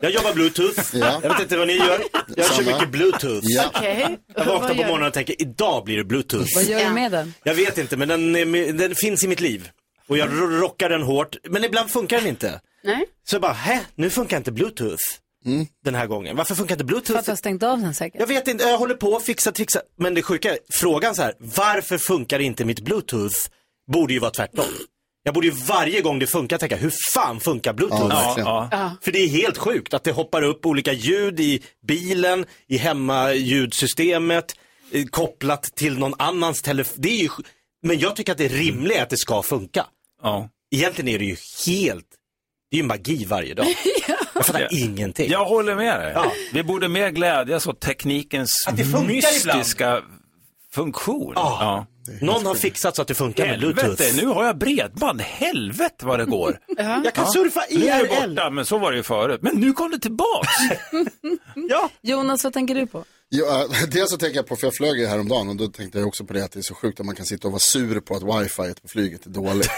Jag jobbar bluetooth, Ja. jag vet inte vad ni gör. Jag kör Samma. mycket bluetooth. Ja. Okej. Jag Vad vaknar gör på du? morgonen och tänker, idag blir det bluetooth. Vad gör du med den? Jag vet inte, men den, är med- den finns i mitt liv. Och jag Mm. ro- rockar den hårt, men ibland funkar den inte. Nej. Så jag bara, hä, nu funkar inte bluetooth Mm. den här gången. Varför funkar inte För att bluetooth? du har stängt av den säkert. Jag vet inte, jag håller på att fixa, trixa. Men det sjuka, är, frågan så här, varför funkar inte mitt bluetooth? Borde ju vara tvärtom. Jag borde ju varje gång det funkar tänka, hur fan funkar bluetooth? Ja, verkligen. För det är helt sjukt att det hoppar upp olika ljud i bilen, i hemmaljudsystemet, eh, kopplat till någon annans telefon. Det är ju... sj- Men jag tycker att det är rimligt att det ska funka. Ja. Egentligen är det ju helt, det är ju magi varje dag. Jag fattar ingenting. Jag håller med dig. Vi borde mer glädjas åt teknikens det funkar mystiska funktion. Ja. Någon har fixat så att det funkar med Helvete, Bluetooth. nu har jag bredband. Helvete vad det går. Jag kan surfa Nu är det IRL. borta, men så var det ju förut. Men nu kom det tillbaks. Jonas, vad tänker du på? Jo, äh, dels så tänker jag på, för jag flög ju häromdagen och då tänkte jag också på det att det är så sjukt att man kan sitta och vara sur på att wifi på flyget är dåligt.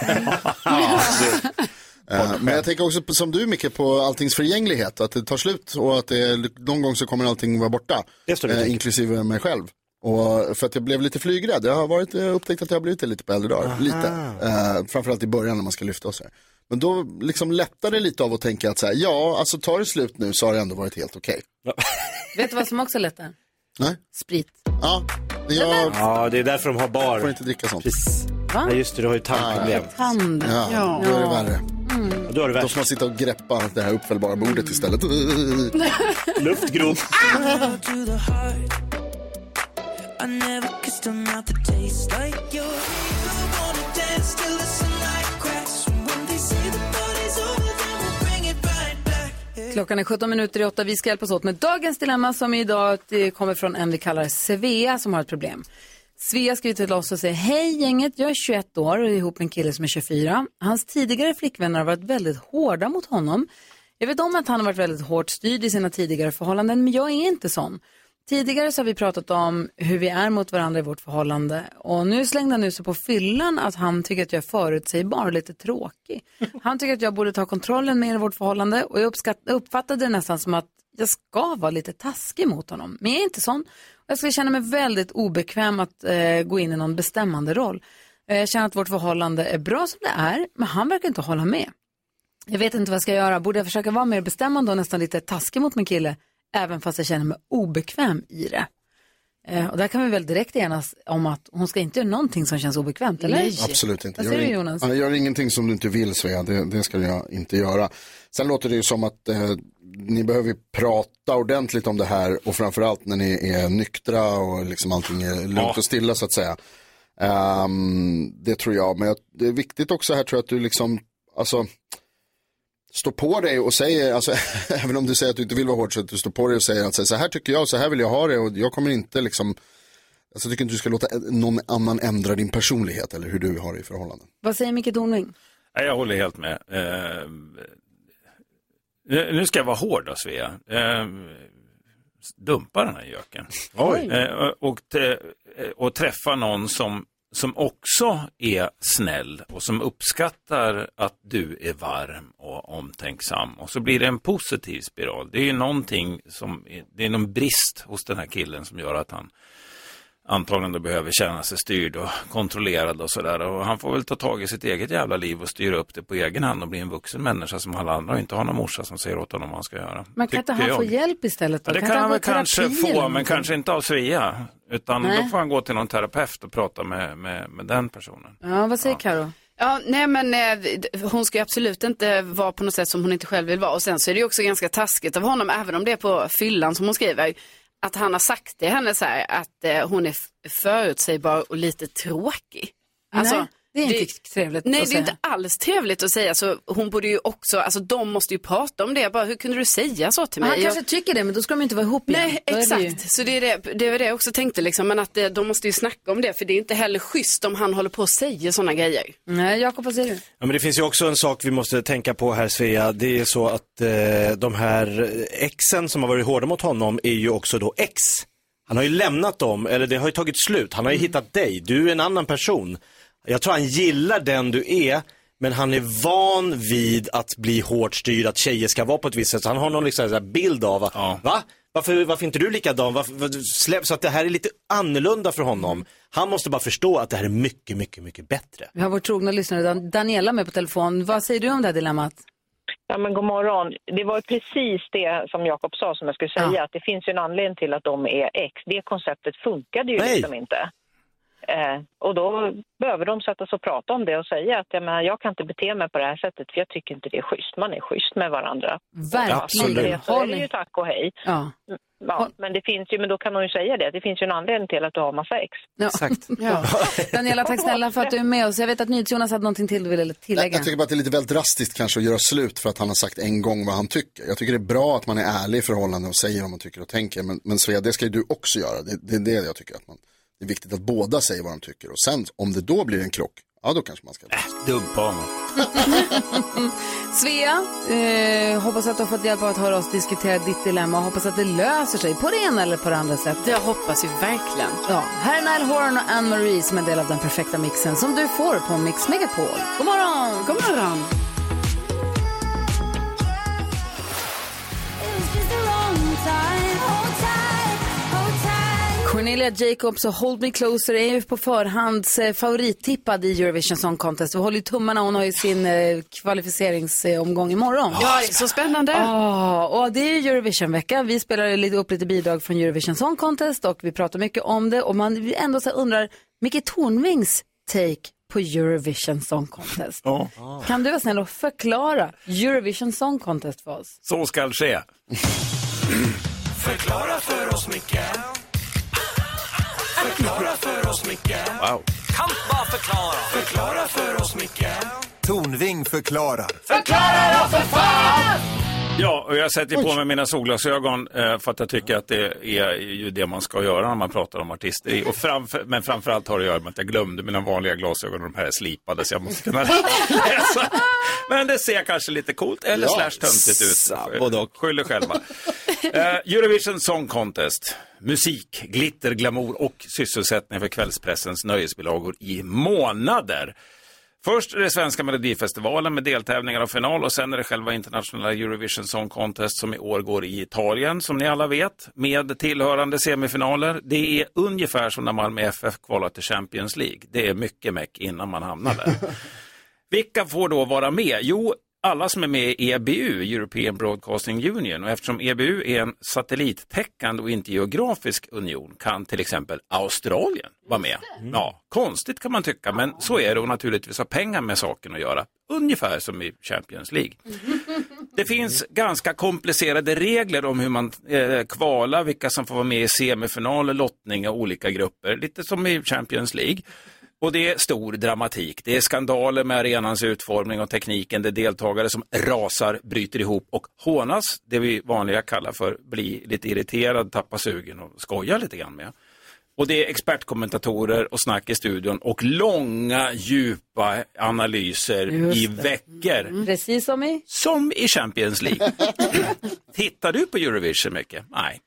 Äh, Men jag tänker också på, som du Micke på alltings förgänglighet, att det tar slut och att det, är- någon gång så kommer allting vara borta. eh, inklusive mig själv. Och för att jag blev lite flygrädd, jag har varit, jag har upptäckt att jag har blivit det lite på äldre dagar. Aha. Lite. Eh, framförallt i början när man ska lyfta och så här. Men då liksom lättar det lite av att tänka att så här, ja, alltså tar det slut nu så har det ändå varit helt okej. Vet du vad som också lättar? Nej? Sprit. Ja, jag... ja, det är därför de har bar. Får inte dricka sånt. Va? Ja, just det, du har ju tandproblem. Tand. Ja, då är det värre. Mm. Ja, Då är det Då får man sitta och greppa det här uppfällbara bordet istället. värre. Luftgrop. Klockan är 17 minuter i 8. Vi ska hjälpas åt med dagens dilemma som idag eh, kommer från en vi kallar Svea som har ett problem. Svea skriver till oss och säger Hej gänget, jag är 21 år och är ihop med en kille som är 24. Hans tidigare flickvänner har varit väldigt hårda mot honom. Jag vet om att han har varit väldigt hårt styrd i sina tidigare förhållanden men jag är inte sån. Tidigare så har vi pratat om hur vi är mot varandra i vårt förhållande och nu slängde han ut sig på fyllan att han tycker att jag är förutsägbar och lite tråkig. Han tycker att jag borde ta kontrollen mer i vårt förhållande och jag uppskatt, uppfattade det nästan som att jag ska vara lite taskig mot honom. Men jag är inte sån. Jag ska känna mig väldigt obekväm att eh, gå in i någon bestämmande roll. Eh, Jag känner att vårt förhållande är bra som det är, men han verkar inte hålla med. Jag vet inte vad jag ska göra. Borde jag försöka vara mer bestämmande och nästan lite taskig mot min kille, även fast jag känner mig obekväm i det? Eh, och där kan vi väl direkt enas om att hon ska inte göra någonting som känns obekvämt, eller? Absolut inte. Vad säger Gör du in- Jonas? Ja, Gör ingenting som du inte vill Svea, det, det ska jag inte göra. Sen låter det ju som att eh, ni behöver prata ordentligt om det här och framförallt när ni är nyktra och liksom allting är lugnt Ja. och stilla så att säga. Ehm, det tror jag, men jag, det är viktigt också här tror jag att du liksom, alltså står på dig och säger, alltså, även om du säger att du inte vill vara hård, så att du står på dig och säger att så här tycker jag, så här vill jag ha det och jag kommer inte liksom, alltså jag tycker inte du ska låta någon annan ändra din personlighet eller hur du har det i förhållanden. Vad säger Micke Tornving? Nej, jag håller helt med. Eh, nu nu ska jag vara hård då, Svea. Eh, dumpa den här göken. Oj. Eh, och, te- eh, och träffa någon som, som också är snäll och som uppskattar att du är varm och omtänksam. Och så blir det en positiv spiral. Det är ju någonting som, det är någon brist hos den här killen som gör att han antagligen då behöver känna sig styrd och kontrollerad och sådär. Och han får väl ta tag i sitt eget jävla liv och styra upp det på egen hand och bli en vuxen människa som alla andra och inte ha någon morsa som säger åt honom vad han ska göra. Men kan inte Tycker han få jag. hjälp istället? Då? Ja, det kan inte han gå väl i terapi kanske eller få, men någonting? kanske inte av Svea. Utan Nej. då får han gå till någon terapeut och prata med, med, med den personen. Ja, vad säger Karo? Ja, nej men eh, d- hon ska ju absolut inte vara på något sätt som hon inte själv vill vara. Och sen så är det ju också ganska taskigt av honom, även om det är på fyllan som hon skriver, att han har sagt till henne så här att eh, hon är f- förutsägbar och lite tråkig. Nej, det är inte trevligt Nej, att alltså, det är säga. inte alls trevligt att säga. Så hon borde ju också, alltså de måste ju prata om det. Bara, hur kunde du säga så till Men mig? han Jag- kanske tycker det, men då ska de inte vara ihop igen. Nej, Då är det exakt. ju- Så det, är det, det var det jag också tänkte, liksom, men att eh, de måste ju snacka om det, för det är inte heller schysst om han håller på och säger sådana grejer. Nej, Jakob, vad säger du? Ja, men det finns ju också en sak vi måste tänka på här Svea. Det är så att eh, de här exen som har varit hårda mot honom är ju också då ex. Han har ju lämnat dem, eller det har ju tagit slut. Han har ju hittat dig, du är en annan person. Jag tror han gillar den du är, men han är van vid att bli hårt styrd, att tjejer ska vara på ett visst sätt. Så han har någon liksom så här bild av, att, va? Varför, varför är inte du likadan? Varför, varför, släpp, så att det här är lite annorlunda för honom. Han måste bara förstå att det här är mycket, mycket, mycket bättre. Vi har vår trogna lyssnare Dan- Daniela med på telefon. Vad säger du om det här dilemmat? Ja, men god morgon. Det var precis det som Jakob sa som jag skulle säga. Att det finns ju en anledning till att de är ex. Det konceptet funkade ju Nej. liksom inte. Eh, och då behöver de sätta sig och prata om det och säga att jag, menar, jag kan inte bete mig på det här sättet för jag tycker inte det är schysst. Man är schysst med varandra. Verkligen. Absolut. Så är det ju tack och hej. Ja. Ja, men, det finns ju, men då kan hon ju säga det. Det finns ju en anledning till att du har massa ex. Exakt. Ja. Daniela, tack snälla för att du är med oss. Jag vet att NyhetsJonas hade någonting till du ville Jag, tillägga. jag tycker bara att det är lite väl drastiskt kanske att göra slut för att han har sagt en gång vad han tycker. Jag tycker det är bra att man är ärlig i förhållande och säger vad man tycker och tänker. Men, men Svea, det ska ju du också göra. Det, det är det jag tycker att man, det är viktigt att båda säger vad de tycker. Och sen om det då blir en krock, ja då kanske man ska... Äh, dumpa honom. Svea, eh, hoppas att du har fått hjälp av att höra oss diskutera ditt dilemma och hoppas att det löser sig på det ena eller på det andra sättet. Det hoppas vi verkligen. Ja, här är Nile Horan och Anne-Marie som är en del av den perfekta mixen som du får på Mix Megapol. God morgon! God morgon! Cornelia Jacobs och Hold Me Closer är ju på förhand eh, favorittippad i Eurovision Song Contest. Vi håller ju tummarna, hon har ju sin eh, kvalificeringsomgång imorgon. Ja, det är så spännande. Ja, Ah, och det är ju Eurovision-vecka. Vi spelar ju lite upp lite bidrag från Eurovision Song Contest och vi pratar mycket om det och man ändå så här undrar, Micke Tornvings take på Eurovision Song Contest. Kan du vara snäll och förklara Eurovision Song Contest för oss? Så skall ske. Förklara för oss, Micke Förklara för oss, Micke Wow. Kan bara förklara Förklara för oss, Micke Tornving förklarar. Förklara då, för fan! Ja, och jag sätter ju på mig mina solglasögon eh, för att jag tycker att det är ju det man ska göra när man pratar om artister. Och framför, men framförallt har det att göra med att jag glömde mina vanliga glasögon och de här är slipade så jag måste kunna läsa. Men det ser kanske lite coolt eller Ja, slash töntigt ut. Både och. Skyll er själva. Eh, Eurovision Song Contest. Musik, glitter, glamour och sysselsättning för kvällspressens nöjesbilagor i månader. Först är det svenska melodifestivalen med deltävlingar och final och sen är det själva internationella Eurovision Song Contest som i år går i Italien som ni alla vet med tillhörande semifinaler. Det är ungefär som när Malmö FF kvalar till Champions League. Det är mycket meck innan man hamnar där. Vilka får då vara med? Jo, alla som är med i EBU, European Broadcasting Union. Och eftersom EBU är en satellittäckande och inte geografisk union kan till exempel Australien vara med. Ja, konstigt kan man tycka, men så är det och naturligtvis har pengar med saken att göra. Ungefär som i Champions League. Det finns ganska komplicerade regler om hur man eh, kvalar, vilka som får vara med i semifinaler, lottning och olika grupper. Lite som i Champions League. Och det är stor dramatik. Det är skandaler med arenans utformning och tekniken. Det är deltagare som rasar, bryter ihop och hånas. Det vi vanliga kallar för bli lite irriterad, tappa sugen och skoja lite grann med. Och det är expertkommentatorer och snack i studion och långa djupa analyser Just i det. veckor. Precis som i... Som i Champions League. Tittar du på Eurovision mycket? Nej.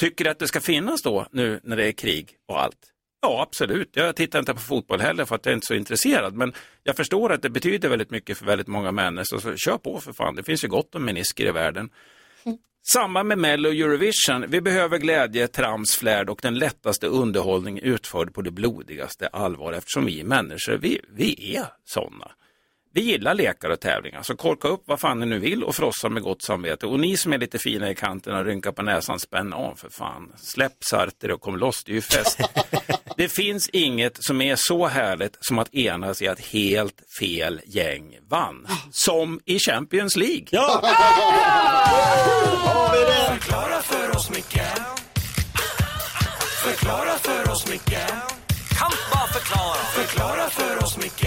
Tycker du att det ska finnas då nu när det är krig och allt? Ja, absolut. Jag tittar inte på fotboll heller för att jag är inte så intresserad. Men jag förstår att det betyder väldigt mycket för väldigt många människor. Så kör på för fan, det finns ju gott om menisker i världen. Samma med Mello och Eurovision. Vi behöver glädje, trams, flärd och den lättaste underhållning utförd på det blodigaste allvar eftersom vi människor, vi, vi är sådana. Vi gillar lekar och tävlingar, så korka upp vad fan ni nu vill och frossa med gott samvete. Och ni som är lite fina i kanterna, rynka på näsan, spänn av för fan. Släpp Sartre och kom loss, det är ju fest. det finns inget som är så härligt som att enas i att helt fel gäng vann. Som i Champions League. Ah! Ja! Har vi det? Förklara för oss, Micke. Förklara för oss, Micke. Kan bara förklara. Förklara för oss, Micke.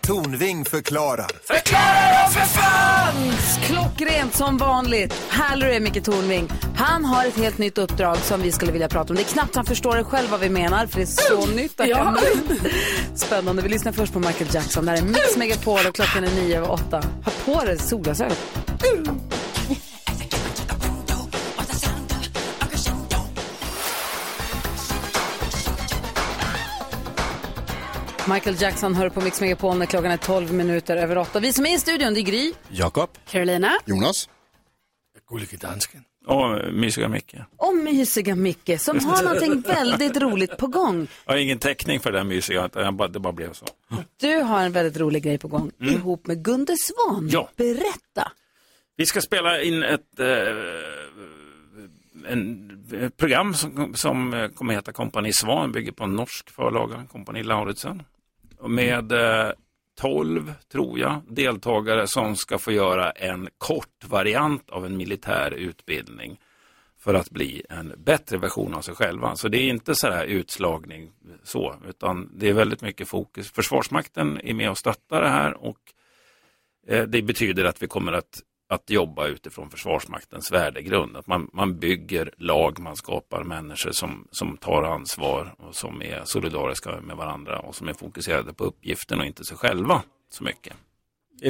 Tornving förklarar. Förklara då för fan! Klockrent som vanligt. Hallery är Micke Tornving. Han har ett helt nytt uppdrag som vi skulle vilja prata om. Det är knappt han förstår det själv vad vi menar, för det är så nytt. att Ja. jag- Spännande. Vi lyssnar först på Michael Jackson. Det här är Mix Megapol och klockan är nio över åtta. Ha på dig solglasögon. Michael Jackson hör på Mix Megapol när klockan är 12 minuter över åtta. Vi som är i studion, det är Gry. Jakob. Carolina. Jonas. Gullige dansken. Och mysiga Micke. Och mysiga Micke som har någonting väldigt roligt på gång. Jag har ingen täckning för det där mysiga, utan jag bara, det bara blev så. Du har en väldigt rolig grej på gång ihop med Gunde Svan. Ja. Berätta. Vi ska spela in ett eh, en, ett program som, som eh, kommer heta Kompani Svan, bygger på en norsk förlaga, Kompani Lauritsen. Och Med eh, 12, tror jag, deltagare som ska få göra en kort variant av en militär utbildning för att bli en bättre version av sig själva. Så det är inte så här utslagning så, utan det är väldigt mycket fokus. Försvarsmakten är med och stöttar det här och Eh, Det betyder att vi kommer att, att jobba utifrån Försvarsmaktens värdegrund. Att man, man bygger lag, man skapar människor som, som tar ansvar och som är solidariska med varandra och som är fokuserade på uppgiften och inte sig själva så mycket.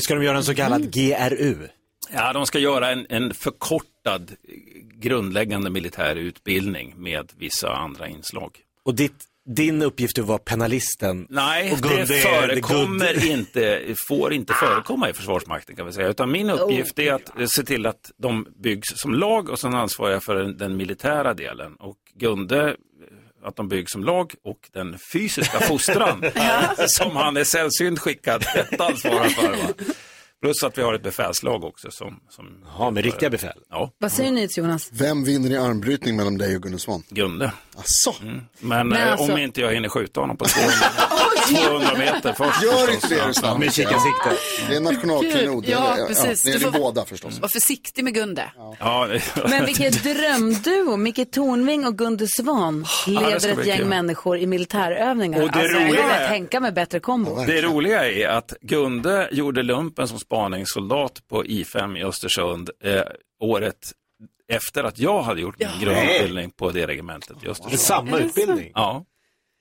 Ska de göra en så kallad Mm. GRU? Ja, de ska göra en, en förkortad eh, grundläggande militär utbildning med vissa andra inslag. Och ditt, din uppgift är att vara penalisten? Nej, och Gunde det är the förekommer good- inte, får inte förekomma i Försvarsmakten kan vi säga. Utan min Oh. uppgift är att eh, se till att de byggs som lag och sen ansvarar jag för den, den militära delen. Och Gunde, eh, att de byggs som lag och den fysiska fostran som han är sällsynt skickad att ansvara för. Va? Plus att vi har ett befälslag också som... som ja, med riktiga befäl? Ja. Vad säger ni till Jonas? Vem vinner i armbrytning mellan dig och Gunde Svan? Gunde. Asså? Men, Men eh, alltså- om inte jag hinner skjuta honom på 200, 200 meter först. Gör förstås. inte det, är det sant? Med kikarsikte. Det är en nationalklenod. Gud, ja, precis. det är Du din får- båda förstås. Var försiktig med Gunde. Ja. Men vilket drömduo, Micke Tornving och Gunde Svan Ja, det leder ska ett bli gäng kul. människor i militärövningar. Och det alltså, jag roliga kan inte är- tänka mig bättre kombo. Det roliga är att Gunde gjorde lumpen som spaningssoldat på I5 i Östersund eh, året efter att jag hade gjort min grundutbildning på det regementet i Östersund. samma Är det utbildning? sant? Ja.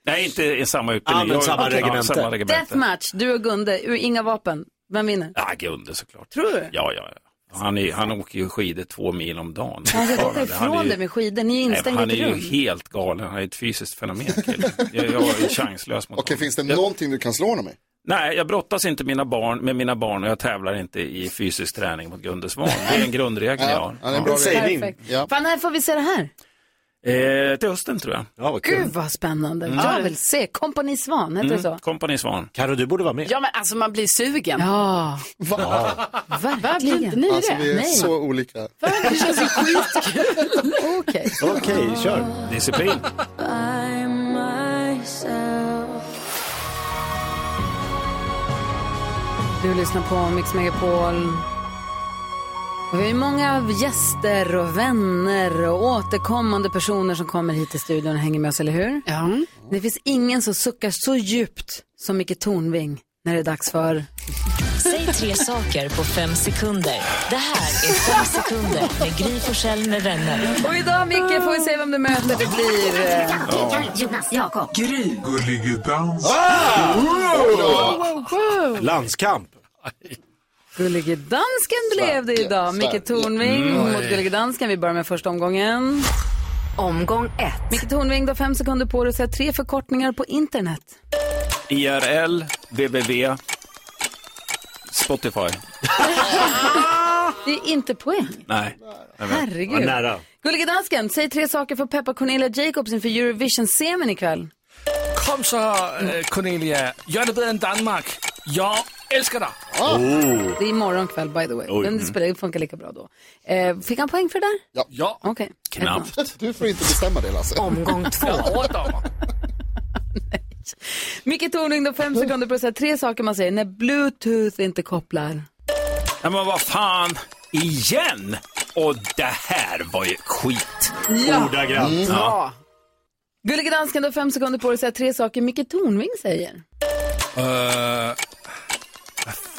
Nej, inte i samma Ja, utbildning. men Jag- samma ja, regemente. samma regemente. Deathmatch, du och Gunde, ur inga vapen. Vem vinner? Ja, Gunde såklart. Tror du? Ja, ja, ja. Han, är, han åker ju skidor två mil om dagen. Han ska fortfarande. titta Han är ifrån ju- dig med skidor, ni är Nej, instängda Han i är ett ju rum. helt galen. Han är ett fysiskt fenomen. kille. Jag, jag är chanslös mot Okej, finns det någonting du kan slå honom med? Nej, jag brottas inte mina barn, med mina barn och jag tävlar inte i fysisk träning mot Gunde Svan. Det är en grundregel jag har. ja, det är en bra En sägning. Perfekt. Fan, när får vi se det här? Eh, till hösten tror jag. Ja, vad Gud vad spännande. Mm. Jag vill se. Kompani Svan, heter det så? Kompani Svan. Karo, du borde vara med. Ja, men alltså man blir sugen. Ja. Va? Verkligen. Blir inte ni Alltså det? vi är Nej. så olika. Det känns ju skitkul. Okej. Okej, kör. Disciplin. Du lyssnar på Mix Megapol. Och vi har ju många gäster och vänner och återkommande personer som kommer hit till studion och hänger med oss, eller hur? Ja. Det finns ingen som suckar så djupt som Micke Tornving när det är dags för... Säg tre saker på fem sekunder. Det här är Fem sekunder med Gry Forssell med vänner. Och idag, Micke, får vi se vem du möter. Det blir... eh, Jonas, Jakob. Gry. Gullige dans. Ah! Landskamp. Gullige dansken blev det idag. Micke Tornving Mm. mot Gullige dansken. Vi börjar med första omgången. Omgång ett. Micke Tornving, du har fem sekunder på dig att säga tre förkortningar på internet. IRL, www, Spotify. Det är inte poäng. Nej. Nej, men- Herregud. Gullige dansken, säg tre saker för Peppa Cornelia Jacobs inför Eurovision-semin ikväll. Kom så, eh, Cornelia. Gör det bättre än Danmark. Jag älskar dig. Det är imorgon kväll, by the way. Ah. Men Oj, det mm. spelar, det funkar lika bra då. Eh, fick han poäng för det där? Ja. ja. Okej. Du får inte bestämma det Lasse. Omgång två. Micke Tornving, du har fem sekunder på att säga tre saker man säger när bluetooth inte kopplar. Nej, men vad fan, igen? Och det här var ju skit. Ja. Ordagrant. Mm. Ja. Gullige dansken, du har fem sekunder på dig att säga tre saker Micke Tornving säger. Uh,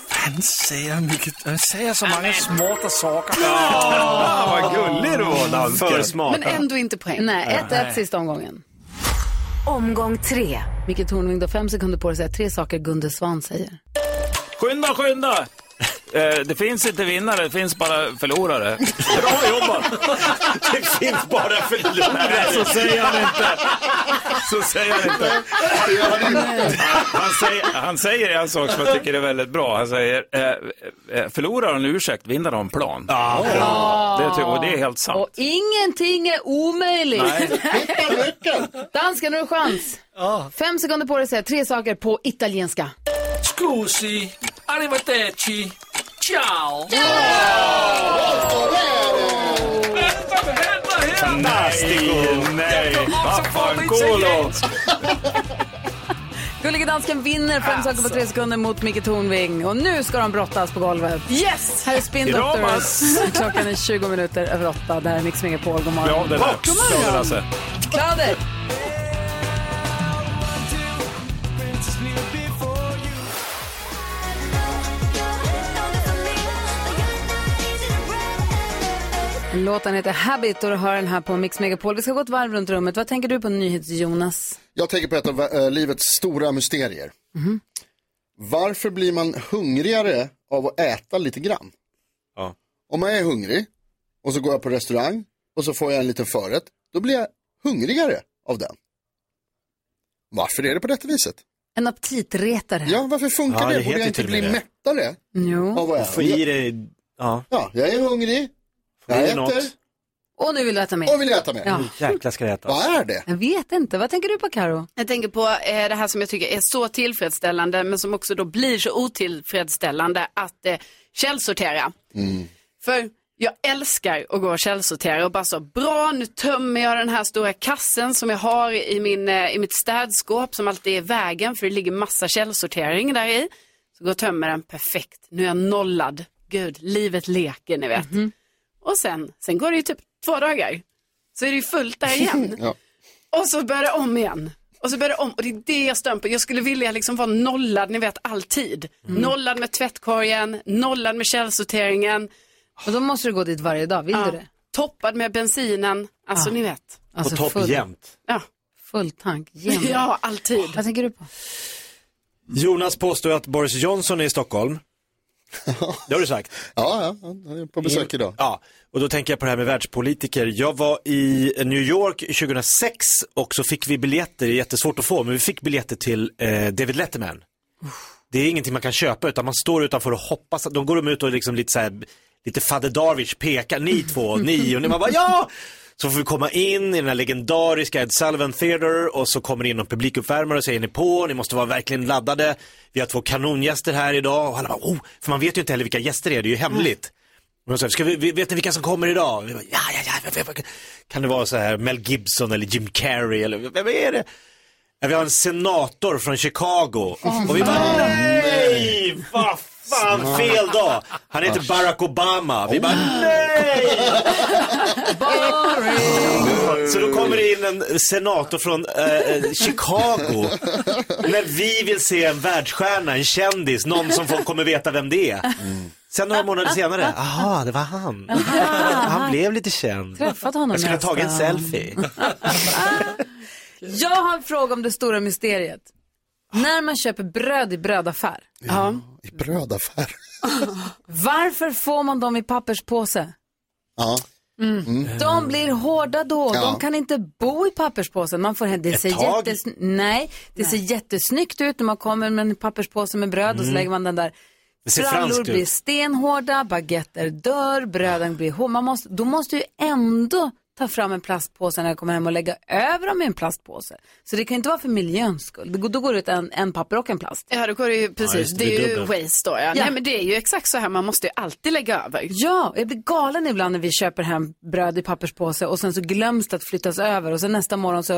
fan säger mycket. Han säger Øh, så många smarta saker. Ja, vad gullig du var, dansken. För smart. Men ändå inte poäng. Nej, 1-1 Nej. sista omgången. Omgång tre. Micke Tornving, du har fem sekunder på dig att säga tre saker Gunde Svan säger. Skynda, skynda! Eh, det finns inte vinnare, det finns bara förlorare. Bra jobbat! det finns bara förlorare. Så säger han inte. Så säger han inte. Han säger, han säger en sak som jag tycker är väldigt bra. Han säger, eh, eh, förlorar har en ursäkt, vinner har en plan. Ja. Det, tycker- och det är helt sant. Och ingenting är omöjligt. Nej. Dansken, har du chans? Fem sekunder på dig att säga tre saker på italienska. Scusi, arrivederci, ciao. Fantastico! Nej, vaffankolo! Gullige dansken vinner fem saker på tre sekunder mot Micke Tornving. Och nu ska de brottas på golvet. Yes! Här är Spin Dramas. Doctors. Klockan är 20 minuter över åtta. Det här är Mix Megapol. God Bra morgon. det där. God Bra det alltså. där, morgon. Lasse. Kladder. Låten heter Habit och du hör den här på Mix Megapol. Vi ska gå ett varv runt rummet. Vad tänker du på NyhetsJonas? Jag tänker på ett av eh, livets stora mysterier. Mhm. Varför blir man hungrigare av att äta lite grann? Ja. Om jag är hungrig och så går jag på restaurang och så får jag en liten förrätt, då blir jag hungrigare av den. Varför är det på detta viset? En aptitretare. Ja, varför funkar Ja, det? det Borde heter jag inte till och med bli det. mättare? Jo. Av att äta? Få i dig, ja. Ja, jag är hungrig, jag i dig äter något. Mm, Och nu vill du äta mer. och vill äta mer. Ja. Jäklar ska det ätas. Vad är det? Jag vet inte. Vad tänker du på Karo? Jag tänker på eh, det här som jag tycker är så tillfredsställande men som också då blir så otillfredsställande att eh, källsortera. Mm. För jag älskar att gå och källsortera och bara så bra nu tömmer jag den här stora kassen som jag har i, min, eh, i mitt städskåp som alltid är i vägen för det ligger massa källsortering där i. Så går jag och tömmer den perfekt. Nu är jag nollad. Gud, livet leker ni vet. Och sen, sen går det ju typ två dagar. Så är det ju fullt där igen. Ja. Och så börjar det om igen. Och så börjar det om och det är det jag stör mig på. Jag skulle vilja liksom vara nollad, ni vet alltid. Mm. Nollad med tvättkorgen, nollad med källsorteringen. Och då måste du gå dit varje dag, vill du det? Toppad med bensinen, alltså Ja. ni vet. Alltså, på topp full- jämt. Ja. Full tank, jämt. Ja, alltid. Vad tänker du på? Jonas påstår att Boris Johnson är i Stockholm. Det har du sagt. Ja, ja, han är på besök idag. Ja, och då tänker jag på det här med världspolitiker. Jag var i New York 2006 och så fick vi biljetter, det är jättesvårt att få, men vi fick biljetter till eh, David Letterman. Det är ingenting man kan köpa utan man står utanför och hoppas att de går de ut och liksom lite så här, lite Fader Darwich pekar, ni två, ni och ni man bara ja! Så får vi komma in i den här legendariska Ed Sullivan Theater och så kommer det in någon publikuppvärmare och säger ni på, ni måste vara verkligen laddade. Vi har två kanongäster här idag och alla bara oh, för man vet ju inte heller vilka gäster det är, det är ju hemligt. Och de sa, Ska vi, vi- vet ni vilka som kommer idag? Vi bara, ja, ja, ja, ja, ja, ja. Kan det vara så här Mel Gibson eller Jim Carrey eller vem är det? Ja, vi har en senator från Chicago. och vi bara, nej! Vad Fan, fel dag. Han heter Barack Obama. Vi bara, nej! Så då kommer det in en senator från eh, Chicago. När vi vill se en världsstjärna, en kändis, någon som folk kommer veta vem det är. Sen några månader senare, aha, det var han. Han blev lite känd. Träffat honom Jag skulle ha tagit en nästan. selfie. Jag har en fråga om det stora mysteriet. När man köper bröd i brödaffär, I brödaffär. varför får man dem i papperspåse? Ja. Mm. De blir hårda då, Ja. de kan inte bo i papperspåsen. Man får hem, det Ett ser, tag. jättesn- nej, det ser jättesnyggt ut när man kommer med en papperspåse med bröd och så Mm. lägger man den där. Det ser Frallor franskt ut. blir stenhårda, baguetter dör, bröden blir hårda. Man måste, då måste ju ändå ta fram en plastpåse när jag kommer hem och lägga över dem i en plastpåse. Så det kan inte vara för miljöns skull. Det går- Då går det ut en, en papper och en plast. Ja, då går det ju precis. Ja, just det, det, det är är ju dubbelt. waste då. Ja. Ja. Nej, men det är ju exakt så här. Man måste ju alltid lägga över. Ja, jag blir galen ibland när vi köper hem bröd i papperspåse och sen så glöms det att flyttas över och sen nästa morgon så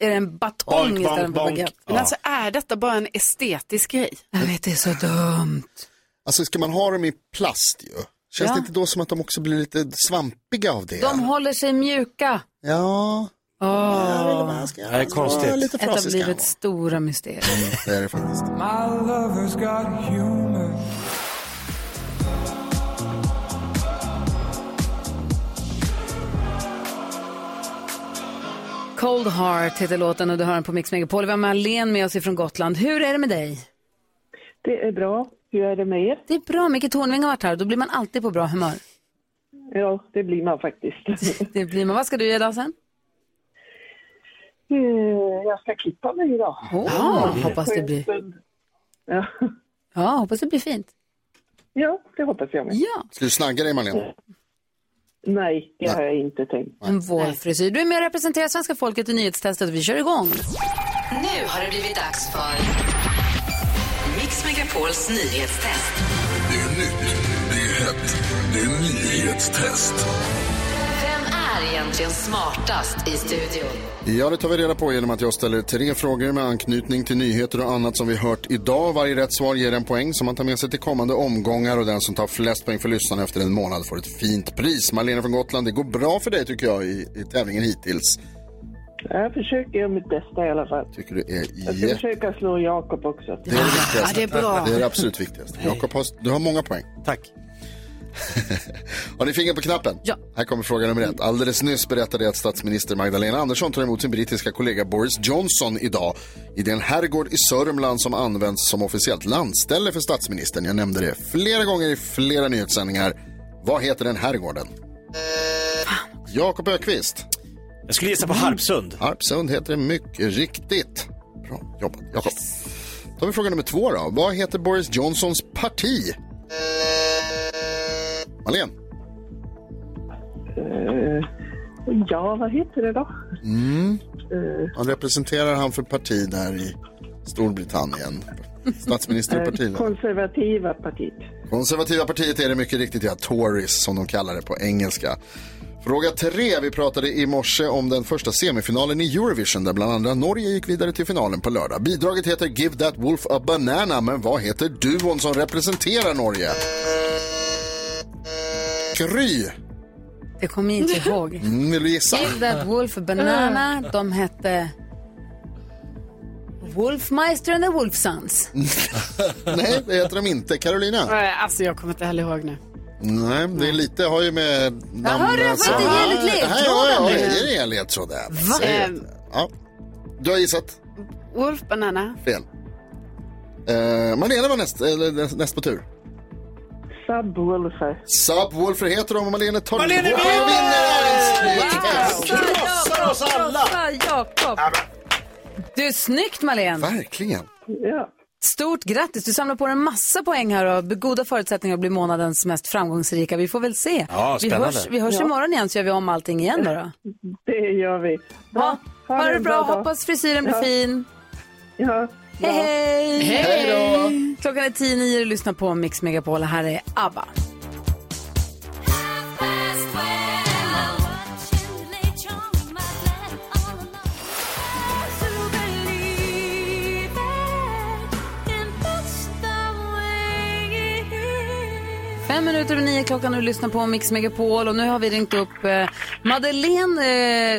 är det en batong Bonk, istället bonk, för bonk. baguette. Men alltså är detta bara en estetisk grej? Jag vet, det är så dumt. Alltså ska man ha dem i plast ju? Känns Ja. det inte då som att de också blir lite svampiga av det? De håller sig mjäka. Ja. Åh, Det här är konstigt. Ja, lite Ett av frasigt kan livets stora mysterier. Det är det faktiskt. My lover's got humor. Cold Heart heter låten och du hör den på Mix Megapol. Vi har Marlene med oss ifrån Gotland. Hur är det med dig? Det är bra. Hur är det med er? Det är bra. Micke Tornving har varit här och då blir man alltid på bra humör. Ja, det blir man faktiskt. Det blir man. Vad ska du göra idag sen? Eh, Jag ska klippa mig idag. Åh, Ja, hoppas det blir- Ja, Ja, hoppas det blir fint. ja, det hoppas jag med. Ja. Ska du snagga dig Marlene? Nej, det har jag inte tänkt. En vårfrisyr. Du är med och representerar svenska folket i nyhetstestet. Vi kör igång. Nu har det blivit dags för Mix Megapols nyhetstest. Det är nytt, det är hett, det är nyhetstest. Vem är egentligen smartast i studion? Ja, det tar vi reda på genom att jag ställer tre frågor med anknytning till nyheter och annat som vi hört idag. Varje rätt svar ger en poäng som man tar med sig till kommande omgångar och den som tar flest poäng för lyssnarna efter en månad får ett fint pris. Marlene från Gotland, det går bra för dig tycker jag i, i tävlingen hittills. Jag försöker göra mitt bästa i alla fall. Tycker du är Jag ska jätte- försöka slå Jakob också. Det är det viktigaste. Det är Mm. det absolut viktigaste. Jakob, har- du har många poäng. Tack. har ni fingret på knappen? Ja. Här kommer fråga nummer ett. Alldeles nyss berättade jag att statsminister Magdalena Andersson tar emot sin brittiska kollega Boris Johnson idag i den herrgård i Sörmland som används som officiellt landställe för statsministern. Jag nämnde det flera gånger i flera nyhetssändningar. Vad heter den herrgården? Jakob Ökvist. Jag skulle gissa på Harpsund. Mm. Harpsund heter det mycket riktigt. Bra jobbat, Jakob. Då har vi fråga nummer två då. Vad heter Boris Johnsons parti? Marlene? Eh. Ja, vad heter det då? Mm. Eh, Vad representerar han för parti där i Storbritannien? Statsminister och eh, partiledare. Konservativa partiet. Konservativa partiet är det mycket riktigt, ja. Tories som de kallar det på engelska. Fråga tre. Vi pratade i morse om den första semifinalen i Eurovision där bland andra Norge gick vidare till finalen på lördag. Bidraget heter Give That Wolf A Banana, men vad heter duon som representerar Norge? Gry. Det kommer jag inte ihåg. Mm, vill du gissa? Give that wolf a banana. De hette Wolfmeister and the Wolfsons. Nej, det heter de inte. Carolina? Eh, Alltså jag kommer inte heller ihåg nu. Nej, det är lite har ju med namn... hörde, jag får inte ge lite ledtråd. ledtrådar Ja, ja, nu. ge dig en ledtråd där. Va? Säg det. Ja. Du har gissat Eh, Wolf Banana. fel. Eh, Malena var näst, eller, näst- näst på tur. Subwoolfer. Subwoolfer heter de och Malena tar Malena Wow! vinner! Krossar oss alla! Jakob! Du, är snyggt Marlene! Verkligen! Stort grattis! Du samlar på dig en massa poäng här och har goda förutsättningar att bli månadens mest framgångsrika. Vi får väl se. Ja, vi spännande. hörs, vi hörs Ja. imorgon igen så gör vi om allting igen då. då. Det gör vi. Ha, ha, ha det en bra, bra dag. hoppas frisyren blir Ja. fin. Ja. Hej, hej! Hej då! Klockan är 10.09 och du lyssnar på Mix Megapol. Här är ABBA. Fem minuter över nio klockan och du lyssnar på Mix Megapol. Och nu har vi ringt upp eh, Madeleine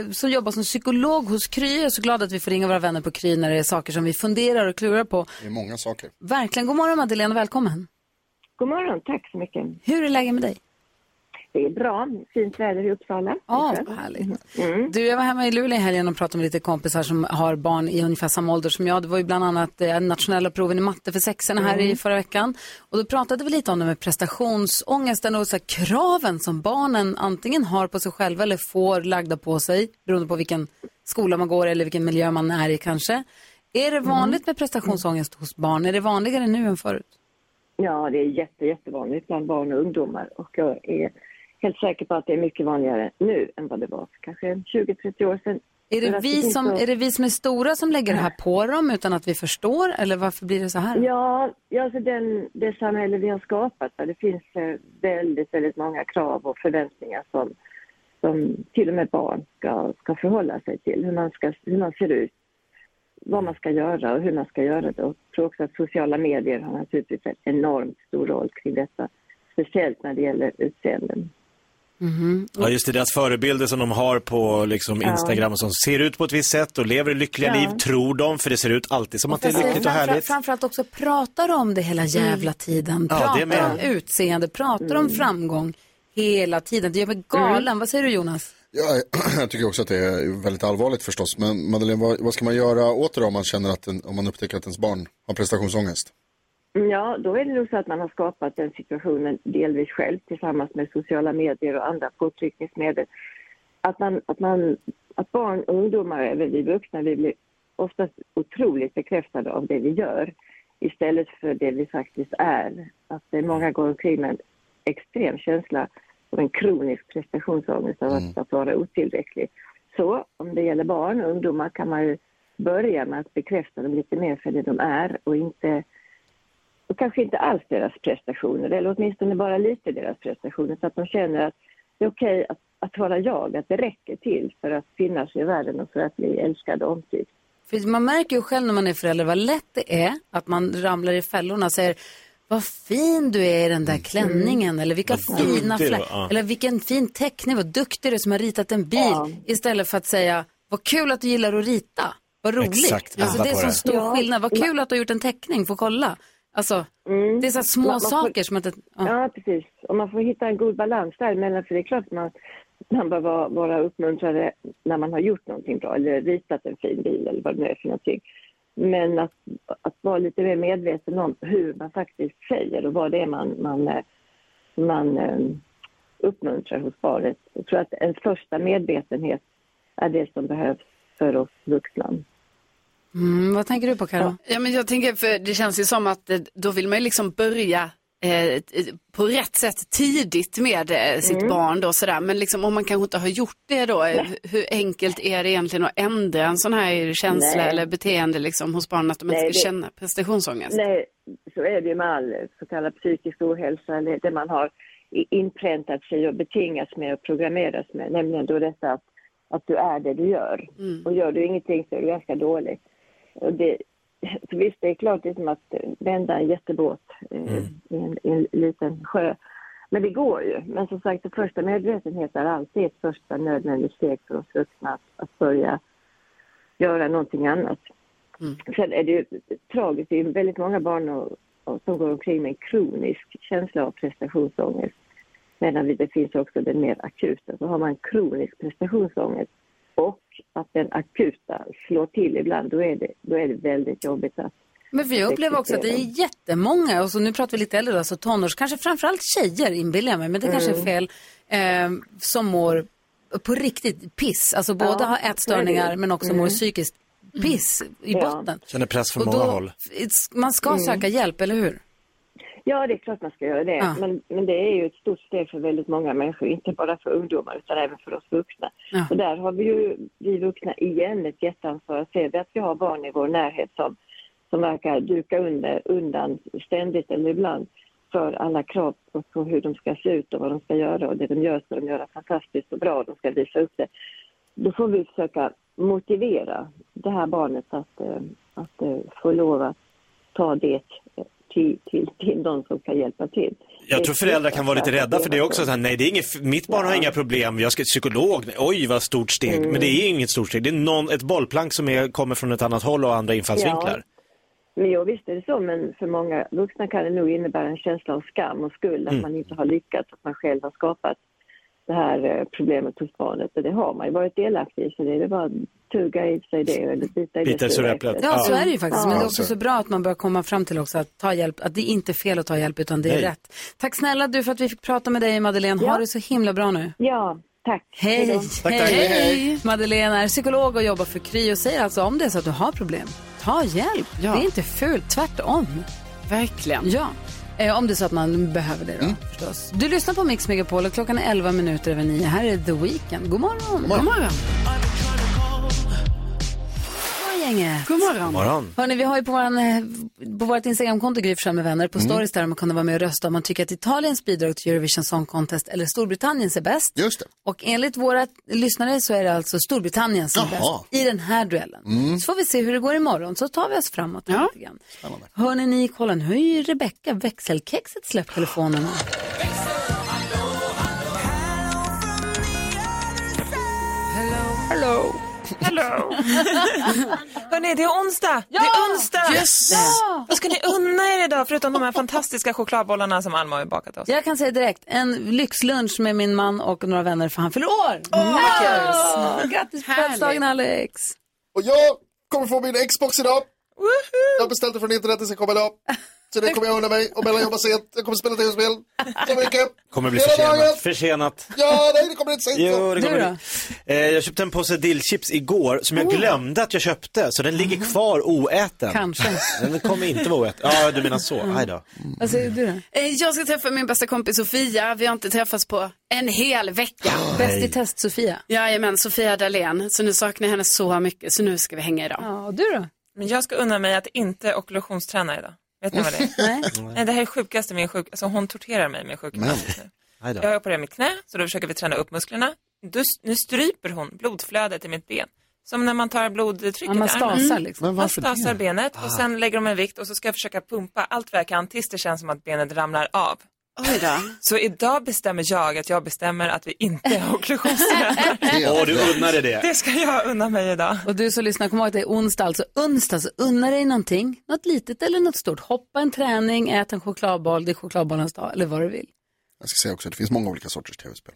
eh, som jobbar som psykolog hos Kry. Jag är så glad att vi får ringa våra vänner på Kry när det är saker som vi funderar och klurar på. Det är många saker. Verkligen. God morgon Madeleine och välkommen. God morgon, tack så mycket. Hur är läget med dig? Det är bra, fint väder i Uppsala. Ja, vad härligt. Mm. Du, jag var hemma i Luleå i helgen och pratade med lite kompisar som har barn i ungefär samma ålder som jag. Det var ju bland annat eh, nationella proven i matte för sexorna här Mm. i förra veckan. Och då pratade vi lite om det med prestationsångesten och så här, kraven som barnen antingen har på sig själva eller får lagda på sig beroende på vilken skola man går eller vilken miljö man är i kanske. Är Mm. det vanligt med prestationsångest hos barn? Är det vanligare nu än förut? Ja, det är jätte, jättevanligt bland barn och ungdomar och jag är helt säker på att det är mycket vanligare nu än vad det var för kanske 20-30 år sedan. Är För det, att vi finns som, så- är det vi som är stora som lägger det här på dem utan att vi förstår? Eller varför blir det så här? Ja, ja alltså den, det samhälle vi har skapat, där det finns eh, väldigt, väldigt många krav och förväntningar som, som till och med barn ska, ska förhålla sig till. Hur man, ska, hur man ser ut, vad man ska göra och hur man ska göra det. Och jag tror också att sociala medier har naturligtvis en enormt stor roll kring detta. Speciellt när det gäller utseenden. Ja, just det, deras förebilder som de har på liksom, Ja. Instagram och som ser ut på ett visst sätt och lever lyckliga Ja. liv, tror de, för det ser ut alltid som liksom att det är Framför- lyckligt och härligt. Mm. Framförallt också pratar om det hela jävla tiden. Ja, Pratar det med. om utseende, pratar om framgång hela tiden. Det gör Mm. mig galen. Vad säger du Jonas? Ja, jag tycker också att det är väldigt allvarligt förstås. Men Madeleine, vad, vad ska man göra åt det då om man känner att en, om man upptäcker att ens barn har prestationsångest? Ja, då är det nog så att man har skapat den situationen delvis själv tillsammans med sociala medier och andra påtryckningsmedel. Att, man, att, man, att barn och ungdomar, även vi vuxna, vi blir oftast otroligt bekräftade av det vi gör istället för det vi faktiskt är. Att det är många går omkring med en extrem känsla av en kronisk prestationsångest av att, att vara otillräcklig. Så om det gäller barn och ungdomar kan man ju börja med att bekräfta dem lite mer för det de är och inte och kanske inte alls deras prestationer, eller åtminstone bara lite deras prestationer, så att de känner att det är okej att, att vara jag, att det räcker till för att finnas i världen och för att bli älskad och omtyckt. För man märker ju själv när man är förälder vad lätt det är att man ramlar i fällorna och säger vad fin du är i den där klänningen eller vilka Mm. duktig fina du var, flä- ja. eller vilken fin teckning, vad duktig du är som har ritat en bil istället för att säga vad kul att du gillar att rita, vad roligt. Exakt, alltså, ändra det är på så det. stor Ja. Mm. skillnad, vad kul att du har gjort en teckning, få kolla. Alltså, det är så här små Mm. Man- man får- saker som att... Ja. Ja, precis. Och man får hitta en god balans däremellan, för det är klart man, man bör vara, vara uppmuntrad när man har gjort någonting bra, eller ritat en fin bil eller vad det nu är för någonting. Men att, att vara lite mer medveten om hur man faktiskt säger och vad det är man, man, eh, man eh, uppmuntrar hos barnet. Jag tror att en första medvetenhet är det som behövs för oss vuxna. Mm, vad tänker du på Karo? Ja, men jag tänker, för det känns ju som att eh, då vill man ju liksom börja eh, t- på rätt sätt tidigt med eh, sitt Mm. barn då sådär. Men liksom om man kanske inte har gjort det då, eh, Nej. hur enkelt är det egentligen att ändra en sån här känsla Nej. eller beteende liksom hos barn att de inte Nej, ska det- känna prestationsångest? Nej, så är det ju med all så kallad psykisk ohälsa, eller det man har i- inpräntat sig och betingats med och programmerats med, nämligen då detta att, att du är det du gör. Mm. Och gör du ingenting så är du ganska dålig. Och det, så visst, det är klart det är som att eh, vända en jättebåt eh, i, en, i en liten sjö. Men det går ju. Men som sagt, det första medvetenhet är alltid ett första nödvändigt steg för oss vuxna att, att börja göra någonting annat. Sen är det ju tragiskt, det är ju väldigt många barn och, och, som går omkring med en kronisk känsla av prestationsångest. Medan det finns också den mer akuta, så har man kronisk prestationsångest och att den akuta slår till ibland, då är det, då är det väldigt jobbigt att Men för jag upplever också att det är jättemånga, och så nu pratar vi lite äldre, då, alltså tonårs, kanske framförallt tjejer inbillar jag mig, men det kanske är Mm. fel, eh, som mår på riktigt piss. Alltså både Ja, har ätstörningar det. men också mår Mm. psykiskt piss i botten. Känner press från Och många då- håll. It's- Man ska Mm. söka hjälp, eller hur? Ja, det är klart man ska göra det. Ja. Men, men det är ju ett stort steg för väldigt många människor, inte bara för ungdomar utan även för oss vuxna. Ja. Och där har vi ju, vi vuxna igen ett jätteansvar. Ser vi att vi har barn i vår närhet som, som verkar duka under, undan ständigt eller ibland för alla krav på, på hur de ska se ut och vad de ska göra och det de gör ska de göra fantastiskt och bra och de ska visa upp det. Då får vi försöka motivera det här barnet att, eh, att eh, få lov att ta det till, till, till de som kan hjälpa till. Jag tror föräldrar kan vara lite rädda för det också. Så här, nej, det är inget, mitt barn har inga problem, jag ska psykolog, nej, oj vad stort steg. Men det är inget stort steg, det är någon, ett bollplank som är, kommer från ett annat håll och andra infallsvinklar. Men jag visste det så, men för många vuxna kan det nog innebära en känsla av skam och skuld, att Mm. man inte har lyckats, att man själv har skapat det här eh, problemet hos barnet. Och det har man ju varit delaktig i, så det är väl bara att tugga i sig det eller bita i det. Bita i sura surräpplet. äpplet. Ja, så är det ju faktiskt. Men det Ja, är också så- så bra att man bör komma fram till också att ta hjälp, att det är inte är fel att ta hjälp utan det är Nej. rätt. Tack snälla du för att vi fick prata med dig Madeleine. Ha det så himla bra nu. Ja, tack. Hej. Hej då. Tack, tack. Hej. Hej. Madeleine är psykolog och jobbar för Kry och säger alltså om det är så att du har problem, ta hjälp. Det är inte fult, tvärtom. Verkligen. Ja, eh, om det är så att man behöver det då förstås. Du lyssnar på Mix Megapol och klockan är 11 minuter över 9. Här är The Weeknd. God morgon. God morgon. Gänget. God morgon. God morgon. Hörrni, vi har ju på, våran, eh, på vårt Instagramkonto Gry Forssell med vänner på Mm. stories där man kunde vara med och rösta om man tycker att Italiens bidrag till Eurovision Song Contest eller Storbritanniens är bäst. Just det. Och enligt våra lyssnare så är det alltså Storbritannien som är Jaha. bäst i den här duellen. Mm. Så får vi se hur det går imorgon, så tar vi oss framåt lite grann. Hörrni, ni, kolla nu har ju Rebecca växelkexet släppt telefonerna. Hello. Hello. Hörrni, det är onsdag! Det Ja! är onsdag! Yes! Ja! Vad ska ni unna er idag förutom de här fantastiska chokladbollarna som Alma har bakat oss? Jag kan säga direkt, en lyxlunch med min man och några vänner för han fyller år. vad kul! Grattis på födelsedagen Alex! Och jag kommer få min Xbox idag. Jag beställde från internet, den ska komma idag. Så det kommer jag unna mig. Och Bella jobbar sent. Jag kommer spela tv-spel. Så mycket. Kommer bli Hela dagen. försenat. försenat. Ja, nej, det kommer inte sent. Jo, det kommer bli. Eh, Jag köpte en påse dillchips igår som jag Oh. glömde att jag köpte, så den ligger kvar oäten. Kanske. Den kommer inte vara oäten. Ja, du menar så. Aj då. Vad säger du då? Eh, Jag ska träffa min bästa kompis Sofia. Vi har inte träffats på en hel vecka. Bäst i test Sofia. Jajamän, Sofia Dalén. Så nu saknar jag henne så mycket, så nu ska vi hänga idag. Ja, och du då? Men jag ska unna mig att inte ockulationsträna idag. Vet ni vad det är? Nej. Nej, det här är sjukaste med sjuk... Alltså hon torterar mig med sjukgymnast just nu. Aj Jag har opererat mitt knä, så då försöker vi träna upp musklerna. Du, nu stryper hon blodflödet i mitt ben. Som när man tar blodtrycket Ja, man i armen. Mm. stasar liksom. Men Man varför det? stasar benet Ah. och sen lägger de en vikt och så ska jag försöka pumpa allt vad jag kan tills det känns som att benet ramlar av. Oj då. Så idag bestämmer jag att jag bestämmer att vi inte har Åh, ockulationstränar. du unnar dig det. Det ska jag unna mig idag. Och du som lyssnar, kom ihåg att det är onsdag, alltså onsdag, så unna dig någonting, något litet eller något stort. Hoppa en träning, ät en chokladboll, det är chokladbollens dag, eller vad du vill. Jag ska säga också att det finns många olika sorters tv-spel.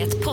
Ett